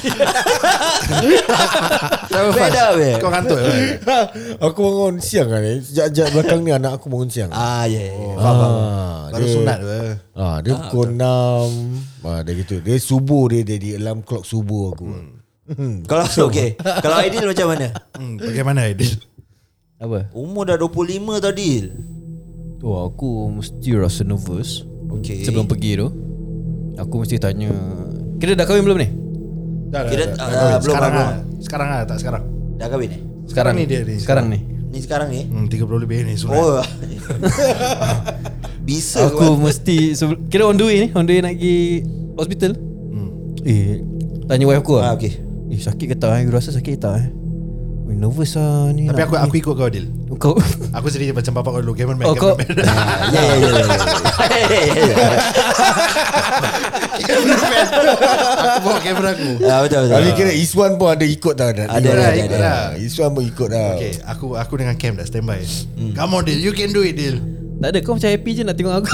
S3: Kenapa, Faz?
S2: Beda, weh.
S3: Kau kantuk eh?
S5: aku bangun siang kan eh. Sejak-sejak belakang ni anak aku bangun siang.
S2: Ah
S5: ya,
S2: yeah, yeah.
S5: Oh. Ah,
S3: Baru
S5: dia-
S3: sunat eh? weh.
S5: Ah, dia pukul enam. Ah, dia gitu. Dia subuh dia dia di alarm clock subuh aku.
S2: Kalau okay Kalau Aidil macam mana
S3: Hmm, bagaimana Aidil?
S1: Apa?
S2: Umur dah 25 tau Dil
S1: Tu Oh, aku mesti rasa nervous
S2: Okay.
S1: Sebelum pergi tu Aku mesti tanya Kira dah kahwin belum ni?
S3: Dah, dah,
S2: Kira,
S3: dah,
S2: ah,
S3: dah, kahwin.
S2: belum,
S3: sekarang
S2: belum.
S3: lah. Sekarang lah, tak sekarang.
S2: Dah kahwin eh
S1: Sekarang,
S3: Sekarang ni dia ni,
S1: Sekarang
S3: [laughs]
S1: ni
S2: Ni sekarang ni
S3: Hmm, 30 lebih ni sunat.
S2: Oh [laughs] Bisa
S1: Aku mesti sebel- Kira on the way ni On the way nak pergi Hospital
S3: Hmm.
S1: Eh Tanya wife aku
S2: Ah,
S1: lah
S2: okay.
S1: Eh sakit ke tak eh You rasa sakit ke tak eh Ui, Nervous lah ni
S3: Tapi
S1: nak-
S3: aku aku ikut kau Adil
S1: [laughs] Kau
S3: Aku sendiri macam bapak kau dulu Cameraman
S1: Oh, kau-
S3: cameraman.
S2: Ya ya ya
S3: [laughs] Cameraman. Aku bawa kamera aku
S2: Ya betul betul
S5: Kali kira Iswan pun ada ikut dah Ada
S2: Ada, ada, ada,
S3: ada.
S5: Iswan pun ikut dah
S3: Okay aku aku dengan Cam dah standby
S2: Hmm.
S3: Come on Dil You can do it Dil
S2: [laughs]
S1: Tak ada kau macam happy je nak tengok
S3: [laughs]
S1: aku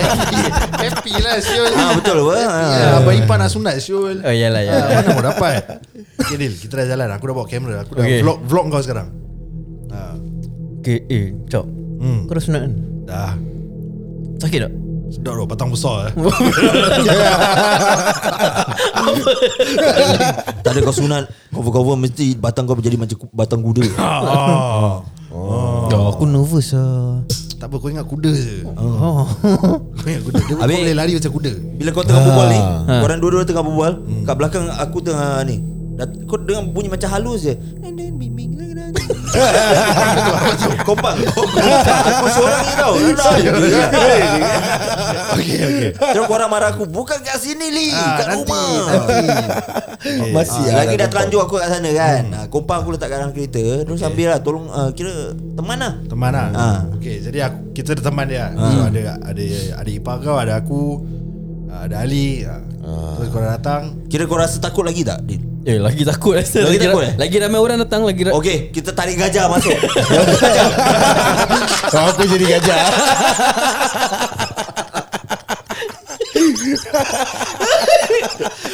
S3: Happy Happy lah Syul
S2: Ah, betul apa? Ah.
S3: Happy lah. Abang Ipan nak sunat Syul
S1: Oh yalah ya.
S3: Ah, Mana mau dapat Okay Dil Kita dah jalan Aku dah bawa kamera Aku dah
S1: Okay.
S3: vlog vlog kau sekarang Ah,
S1: Okay eh Cok
S3: Hmm.
S1: Kau dah sunat kan
S3: Dah
S1: Sakit tak
S3: Sedap tu Batang besar eh.
S2: Tak ada kau sunat Cover-cover mesti Batang kau jadi macam ku- Batang kuda
S3: Ah.
S1: oh. Aku nervous lah
S3: Tak apa kau ingat kuda je
S1: oh.
S3: [laughs] Kau ingat kuda Dia
S2: Habis-
S3: Habis, boleh lari macam kuda
S2: Bila kau
S3: Ah.
S2: tengah berbual ni Korang dua-dua tengah berbual
S3: Hmm.
S2: Kat belakang aku tengah ah, ni Dat- Kau dengar bunyi macam halus je And then bimbing lah,
S3: [laughs]
S2: Kompang Aku seorang ni tau
S3: [laughs] Okay okay
S2: Terus korang marah aku Bukan kat sini Li
S3: Ah,
S2: Kat
S3: nanti,
S2: rumah
S3: Okay.
S5: Masih
S2: Ah, lagi
S5: ada
S2: dah terlanjur aku kat sana kan. Hmm. kompang aku letak kat dalam kereta. Terus okay. ambil lah tolong uh, kira teman lah.
S3: Teman lah
S2: Ah.
S3: Okay jadi aku, kita ada teman dia So ada ada ada ipar kau Ada aku ah, Ada Ali ah. Terus korang [laughs] datang
S2: Kira kau rasa takut lagi tak? Din?
S1: Eh lagi takut rasa
S2: Lagi takut,
S1: ra-
S2: eh?
S1: Lagi ramai orang datang Lagi ra-
S2: Okey, kita tarik gajah
S5: [laughs]
S2: masuk.
S5: [laughs] Kau aku jadi gajah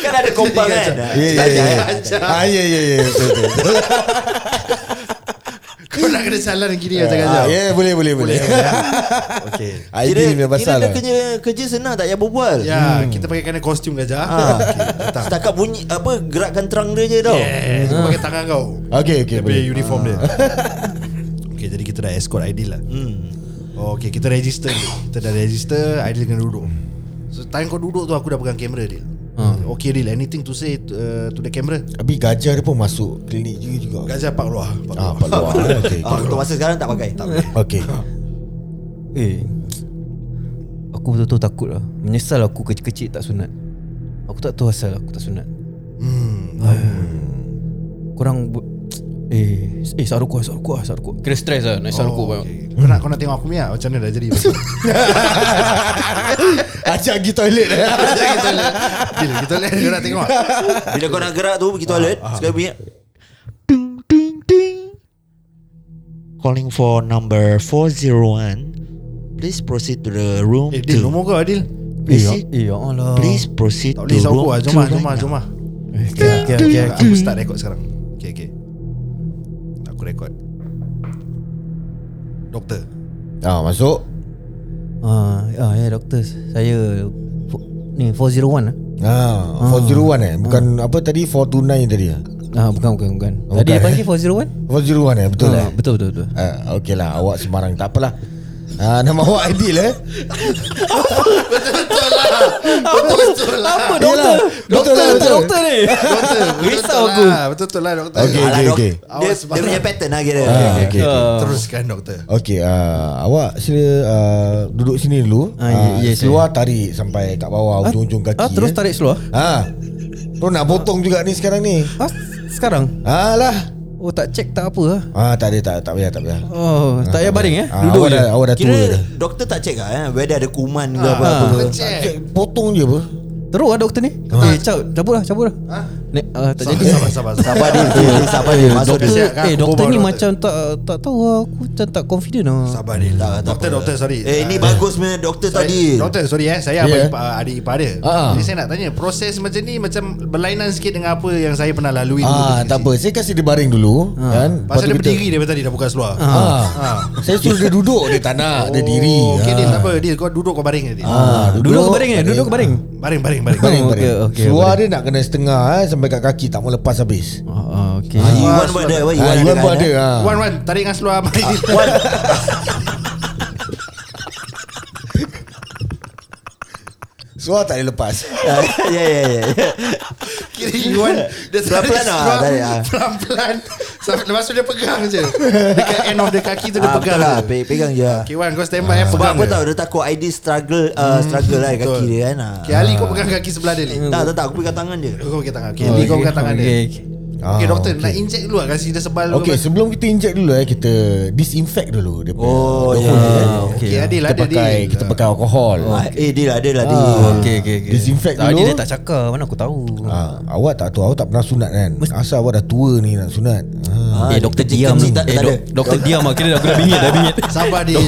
S2: kan ada kompang kan.
S5: Ya ya ya Ah, Ya ya ya betul, betul.
S3: Kau nak kena salah dan kiri macam
S5: Ah,
S3: kacau
S5: Ya boleh boleh boleh [laughs]
S3: Okay
S2: Kira,
S5: Ideal punya
S2: kira
S5: pasal
S2: dia
S5: lah.
S2: kerja kerja senang tak payah berbual.
S3: Ya kita pakai kena kostum gajah
S2: Ah.
S3: okay, Datang
S2: Setakat bunyi apa gerakkan terang dia je tau.
S3: Yes Kau pakai tangan kau
S5: Okay Ah. okay
S3: Dia
S5: boleh Ah.
S3: punya uniform dia [laughs] Okay jadi kita dah escort Aidil lah oh, Okay kita register dulu. Kita dah register Aidil kena duduk So time kau duduk tu aku dah pegang kamera Dil
S5: Ah.
S3: Okay Dil anything to say uh, to the camera
S5: Tapi gajah dia pun masuk klinik juga juga.
S3: Gajah pak luar Pak
S5: Ah,
S3: luar
S5: pak
S3: [laughs]
S5: luar.
S2: [laughs]
S5: Okey.
S2: Ah, untuk masa sekarang tak pakai. Tak
S5: Okey.
S1: Eh Aku betul-betul takut lah Menyesal aku kecil-kecil tak sunat Aku tak tahu asal aku tak sunat hmm. Korang bu- Eh Eh saruk kuah Saruk kuah Saruk kuah Kira stres lah Nak saruk kuah
S3: Oh, okay. Kau nak, kau nak tengok aku punya Macam mana dah
S5: [laughs]
S3: jadi
S5: Ajak pergi toilet.
S3: Kita lihat Gila kita lihat Kau nak
S5: [laughs]
S3: tengok
S2: [laughs] Bila kau nak gerak tu pergi toilet
S5: Ah,
S2: sekali bunyi. Ding ding ding. Calling for number 401. Please proceed to the room
S3: Eh Dil nombor kau Adil
S1: Eh ya eh, ya Allah
S2: Please proceed
S3: Tak
S2: to
S3: boleh sauk
S2: room
S3: lah Jom lah jom lah jom lah
S1: Eh, okay, okay, okay,
S3: Okay,
S1: okay.
S3: Aku start rekod sekarang Okay okay Aku rekod Doktor
S5: Ah masuk.
S1: Ah, ah, ya doktor Saya fo- Ni 401 lah
S5: Ah, 401 eh Bukan apa tadi 429 tadi ya
S1: Ah, bukan bukan bukan. Tadi
S5: Bukan,
S1: dia
S5: eh?
S1: panggil 401?
S5: 401 eh betul
S1: Betul,
S5: eh
S1: ah, betul betul betul.
S5: Ah, Okey lah awak Semarang tak apalah Ah, nama awak Aidil eh
S3: Betul
S1: Apa
S5: Yelah, doktor lah,
S1: tak
S5: betul.
S1: doktor ni.
S3: Doktor
S1: [laughs]
S3: lah.
S1: Risau aku.
S3: Betul betul lah doktor
S5: Okey
S2: Alah,
S5: okey
S2: dok-
S5: okey
S2: Dia,
S3: Awas,
S2: dia punya pattern lah kira
S5: Ah, okey okey.
S1: Ah.
S3: Teruskan doktor
S5: Okey ah, awak sila ah, duduk sini dulu.
S1: Ah, ye- yes,
S5: seluar tarik sampai kat bawah ujung-ujung kaki.
S1: Ah, terus
S5: eh.
S1: tarik seluar.
S5: Ah. Tu nak potong juga ni sekarang ni.
S1: Ah, sekarang.
S5: Alah.
S1: Oh, tak check tak apa ah.
S5: Ah tak ada tak tak payah tak payah.
S1: Oh, tak payah baring eh.
S5: Ah,
S1: Duduk
S5: awak
S1: je.
S5: dah awak dah tua
S2: Kira
S5: dah.
S2: doktor tak check lah eh, Whether ada kuman ke
S3: Ah,
S2: apa, apa
S3: kau
S2: ke.
S3: check.
S5: Cik, Potong je apa?
S1: Teruk ah doktor ni. Eh, cabut, cabut lah, cabut lah.
S3: Ah.
S1: Nek, ah, tak jadi.
S3: Sabar sabar
S2: Sabar
S3: sabar
S2: dia dia- Sabar dia Masuk
S1: Doktor,
S2: dia
S3: kesian kan,
S1: eh
S3: aku
S1: doktor
S3: bawa
S1: ni
S3: doktor.
S1: macam tak tak tahu ah. aku macam tak confident ah.
S3: Sabar Dil
S2: Tak, tak
S3: Doktor
S2: apa.
S3: doktor sorry Ah,
S2: Eh ni bagus punya doktor
S3: Sorry,
S2: tadi
S3: Doktor sorry eh Saya
S5: Ya.
S3: yeah. ipar, adik ipar dia
S5: Ah.
S3: Jadi saya nak tanya Proses macam ni Macam berlainan sikit Dengan apa yang saya pernah lalui dulu
S5: Ah
S3: dekat
S5: tak
S3: sini.
S5: apa. Saya kasi dia baring dulu
S1: Ah.
S5: kan. Lepas
S3: Pasal
S5: tu
S3: dia
S5: kita-
S3: berdiri daripada tadi Dah buka seluar
S5: Ah. Saya suruh dia duduk dia tak nak, dia diri.
S3: Okay
S5: Ah.
S3: Dil Oh, tak apa Dil kau duduk kau baring dia
S5: Ah,
S1: Duduk ke baring eh? Duduk ke baring?
S3: Baring baring baring
S5: Baring,
S1: Oh,
S5: baring.
S1: okey, okey,
S5: Seluar dia nak kena setengah eh, sampai kat kaki tak mau lepas habis.
S1: Ah, ah, okey.
S2: Ah, Iwan pun ada
S5: Ah, Iwan pun
S2: kan,
S5: ada.
S2: eh?
S5: ah.
S3: Wan Wan tarik dengan seluar Mari Dil
S2: Ah.
S3: [laughs]
S2: Wan
S5: Seluar tak boleh lepas.
S2: [laughs] Ah, Ya ya ya
S3: Kiri Iwan Dia tarik
S2: Pelan-pelan lah,
S3: seluar
S2: tarik, ah.
S3: Pelan-pelan Sampai- Lepas tu dia pegang je Dekat end of the kaki tu dia
S2: Ah,
S3: pegang
S2: betul lah
S3: lah
S2: pe- Pegang je lah.
S3: Okay Wan kau stand by eh,
S2: Sebab
S3: Pegang
S2: apa
S3: je.
S2: tau Dia takut ID struggle uh, Struggle lah
S3: Betul.
S2: kaki dia kan ah.
S3: Okay Ali kau pegang kaki sebelah dia ni
S2: Tak tak tak Aku pegang tangan dia
S3: Kau pegang tangan Okay Ali kau pegang tangan dia
S1: Okay.
S3: Okay doktor nak inject dulu lah Kasih dia sebal dulu
S5: Okay
S3: kan.
S5: sebelum kita inject dulu eh Kita disinfect dulu dia punya
S2: Oh,
S5: the
S2: ya.
S5: hole dia, eh.
S3: Okay Adil
S5: Kita
S3: ada
S5: pakai
S3: Adil.
S5: Kita pakai alkohol Ah.
S2: Ah, Eh dia lah dia lah dia
S3: Ah,
S1: Okay, okay, okay.
S5: Disinfect
S1: tak,
S5: dulu.
S1: Ah, Dia tak cakap Mana aku tahu
S5: Ah, awak tak tahu Awak tak pernah sunat kan Asal awak dah tua ni nak sunat ah.
S2: Ah,
S1: Eh
S2: dia
S1: doktor
S2: kecil-
S1: diam
S2: kecil
S1: ni.
S2: tak-
S1: Eh
S2: tak
S1: dok-
S2: ada.
S1: doktor diam ah Kira aku dah bingit Dah bingit
S3: Sabar Adil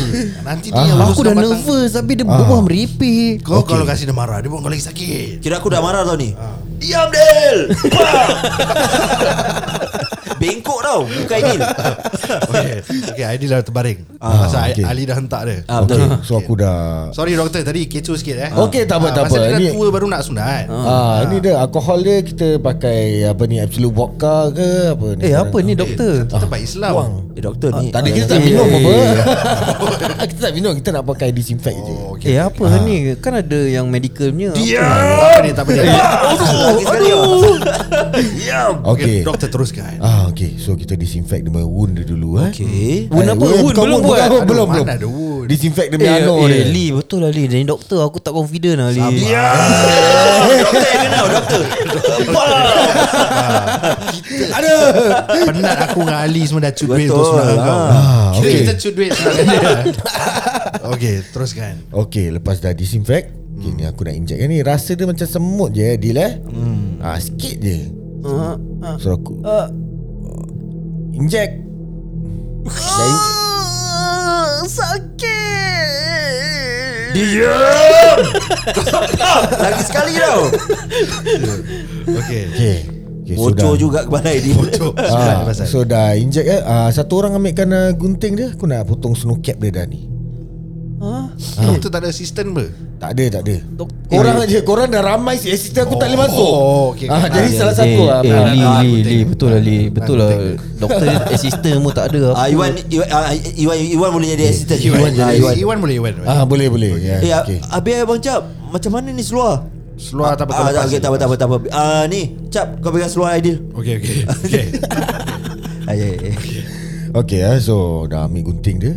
S3: Nanti dia
S5: Ah.
S3: urus
S1: Aku dah
S3: ubat tangan.
S1: nervous Tapi dia berbual merepek
S3: Kau kalau kasih dia marah Dia buat kau lagi sakit
S2: Kira aku dah marah tau ni
S3: Ah.
S2: Diam Dil Bam! Bengkok tau Muka Aidil
S3: Okay, okay Adil dah terbaring Pasal
S5: okay.
S3: Ali dah hentak dia
S2: Ah,
S5: Okay
S2: betul.
S5: So aku dah
S3: Sorry doktor tadi kecoh sikit eh
S5: Okey, tak apa,
S3: Ah,
S5: tak
S3: Pasal
S5: apa.
S3: dia dah
S5: Ini-
S3: tua baru nak sunat
S5: Ah, ini dia alkohol dia kita pakai apa ni absolute vodka ke apa ni?
S1: Eh apa ni
S3: Eh,
S1: doktor
S3: Tempat Islam
S2: Eh doktor ni
S5: Tadi kita tak minum
S2: [laughs]
S5: apa. kita tak minum, kita nak pakai disinfect je.
S3: Oh, okay.
S1: Eh apa ni Kan ada yang medicalnya
S2: Ya!
S3: Tak apa ni, tak apa ni.
S2: Lagi sekali oh.
S3: Okay,
S5: Okey.
S3: doktor teruskan.
S5: Ah, okey. So kita disinfect dia punya wound dia dulu eh.
S2: Okay
S1: Wound apa? Wound
S5: wound, bukan
S1: belum
S5: bukan
S1: buat.
S5: apa,
S3: Aduh,
S5: Ah, Belum,
S3: mana
S5: belum.
S3: ada wound?
S5: Disinfect dia
S1: Eh,
S5: punya anus
S1: eh,
S5: dia.
S1: Lee betul lah Lee Dari doktor aku tak confident lah
S3: Ah,
S1: Lee
S2: Ya Doktor yang kenal doktor
S3: Ada. Penat aku dengan Ali semua dah cut duit
S2: Betul,
S3: untuk sunat
S2: ah.
S3: kau.
S5: Ah,
S3: Kita
S5: okey.
S3: kita cut duit sunat dia. Okey, teruskan.
S5: Okey, lepas dah disinfect, okay, ni aku nak inject kan ni. Rasa dia macam semut je eh, Dil eh. Hmm. Ah, sikit je. So aku inject. Dah inject.
S2: Ya. [laughs] Lagi sekali tau
S3: Okey.
S5: Okey. Okay,
S2: Bocor juga kepala Aidil
S3: Bocor. Sunat
S5: Ah,
S3: pasal.
S5: so dah inject eh ah, Satu orang ambilkan uh, gunting dia Aku nak potong snow cap dia dah ni
S3: Doktor tak ada assistant ke?
S5: Tak ada tak ada Korang aja Korang dah ramai si Assistant aku tak boleh masuk
S3: oh, okay,
S5: ah,
S3: okay.
S5: Jadi
S3: Ah,
S5: salah satu lah
S1: eh, Lee,
S5: ah,
S3: ah,
S1: Lee,
S3: aku
S1: Lee,
S3: tengok.
S1: Betul lah Lee
S3: Aku
S1: Betul lah
S3: tengok.
S1: [laughs] Doktor assistant pun [laughs] tak ada
S2: Ah,
S1: apa.
S2: Iwan, Iwan, ah, Iwan, Iwan boleh jadi assistant.
S3: Iwan,
S2: Ah,
S3: jadi-
S2: Iwan.
S3: Iwan boleh Iwan.
S5: ah, Boleh boleh
S2: Eh,
S3: Ya.
S5: yeah, okay.
S2: okay. abis abang Cap, macam mana ni seluar?
S3: Seluar tak apa
S2: Ah, tak, okay, tak apa, tak apa, tak apa. Ah, ni, Cap, kau pegang seluar Aidil.
S3: Okey, okey. Okey. Ah, ya,
S2: Ay, ay, ay.
S5: okay ah, So dah ambil gunting dia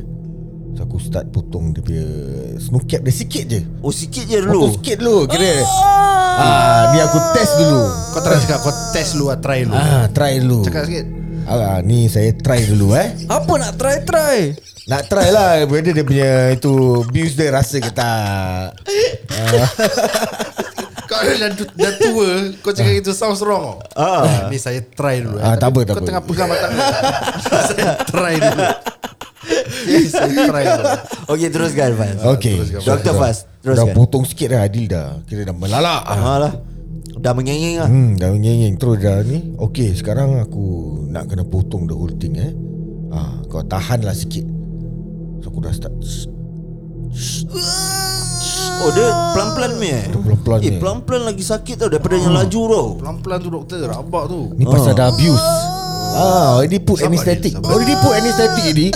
S5: So aku start potong dia punya Snow cap dia sikit je
S2: Oh, sikit je
S5: Potong
S2: dulu.
S5: sikit dulu Kira ah, Biar aku test dulu
S3: Kau try cakap kau test dulu lah, try dulu.
S5: ah, Try dulu
S3: Cakap sikit.
S5: ah, Ni saya try dulu eh
S1: Apa nak try-try
S5: Nak try lah Whether dia punya Itu Views dia rasa ke tak
S3: Kau dah, dah tua Kau cakap itu sounds wrong tau. Ni saya try dulu eh.
S5: Ah, tak apa, tak
S3: Kau
S5: apa.
S3: tengah pegang mata aku. [laughs] Saya try dulu Ni Saya try dulu
S2: [laughs] Okey, teruskan, Fas.
S5: Okay
S3: teruskan,
S5: So,
S2: Doktor
S5: dah-
S2: Fas,
S5: Ah, Dah
S2: teruskan.
S5: potong sikit dah Adil dah Kira dah melalak
S2: Ah, lah. Dah mengengeng lah.
S5: Hmm dah nyeng Terus dah ni Okay sekarang aku Nak kena potong the whole thing eh ah, Kau tahan lah sikit So aku dah start
S2: Oh, dia pelan-pelan ni eh.
S5: pelan-pelan
S2: Eh,
S5: ni.
S2: pelan-pelan lagi sakit tau daripada yang laju tau.
S3: Pelan-pelan tu doktor Rabak tu
S5: Ni pasal dah abuse Ah, already put
S3: Sabar,
S5: anesthetic
S3: Adil, sabar.
S5: Already put anesthetic ni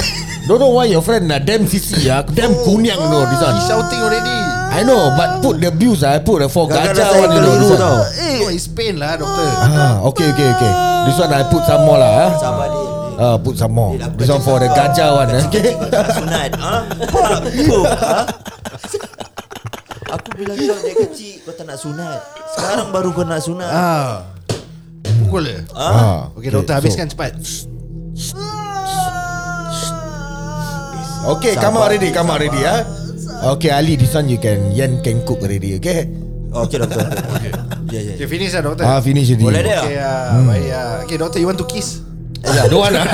S5: Don't know why your friend Nak damn sisi ah, Damn kunyang no Rizal
S3: He shouting already
S5: I know But put the abuse ah, I put the four
S2: Kadang-kadang
S5: gajah
S2: saya
S5: one you know,
S2: keliru
S5: Rizal.
S2: tau.
S3: No it's pain lah doktor
S5: Eh. Ah, okay, okay, okay. This one I put some more lah. Ah.
S2: Sabar dia.
S5: Ah, put some more.
S2: Dia dah
S5: This one for the gajah one. Eh. Okay.
S2: Sunat. Ha? Pak, puh, ha? Aku bilang kau dari kecil kau tak nak sunat. Sekarang baru kau nak sunat.
S3: ah. Pukul dia
S5: Ah,
S3: Okay doktor habiskan cepat
S5: So, okay, come out already, come out already. Ah. Okay, Ali, this one you can Yan can cook already. Okay.
S2: Oh, Okey doktor. Okey. Ya ya.
S3: Okay finish lah doktor
S5: Ah, hmm. finish already.
S2: Boleh dia?
S3: Okay ah, baik ah. Okay doktor you want to kiss
S5: Ya, don't want. ah.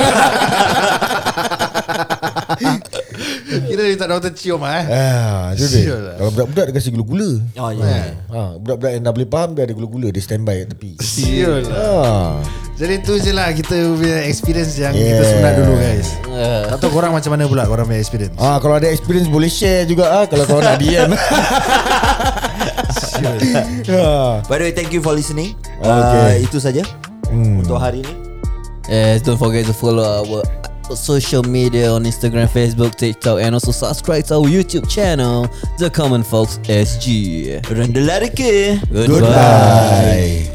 S3: Kira dia tak doktor cium ah. eh
S5: Ah, tu dia.
S3: Sial lah.
S5: Kalau budak-budak dia kasi gula-gula.
S2: Oh ya.
S5: Ha, budak-budak yang dah boleh faham dia ada gula-gula dia standby kat tepi.
S3: Sial lah
S5: Ah.
S3: Jadi tu je lah kita punya experience yang yeah.
S5: Yeah.
S3: kita sunat dulu guys. Tak tahu korang macam mana pula korang punya experience.
S5: Ah, kalau ada experience boleh share juga ah kalau kau nak DM. Ah.
S2: By the way, thank you for listening. Uh,
S5: Okay.
S2: itu saja
S5: Hmm.
S2: untuk hari ini.
S1: Yes, Eh, don't forget to follow our social media on Instagram, Facebook, TikTok, and also subscribe to our YouTube channel, The Common Folks SG.
S2: Rendelar ke?
S1: Goodbye.
S5: Bye.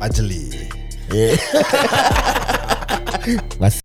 S3: Pajeli.
S5: Yeah. Mas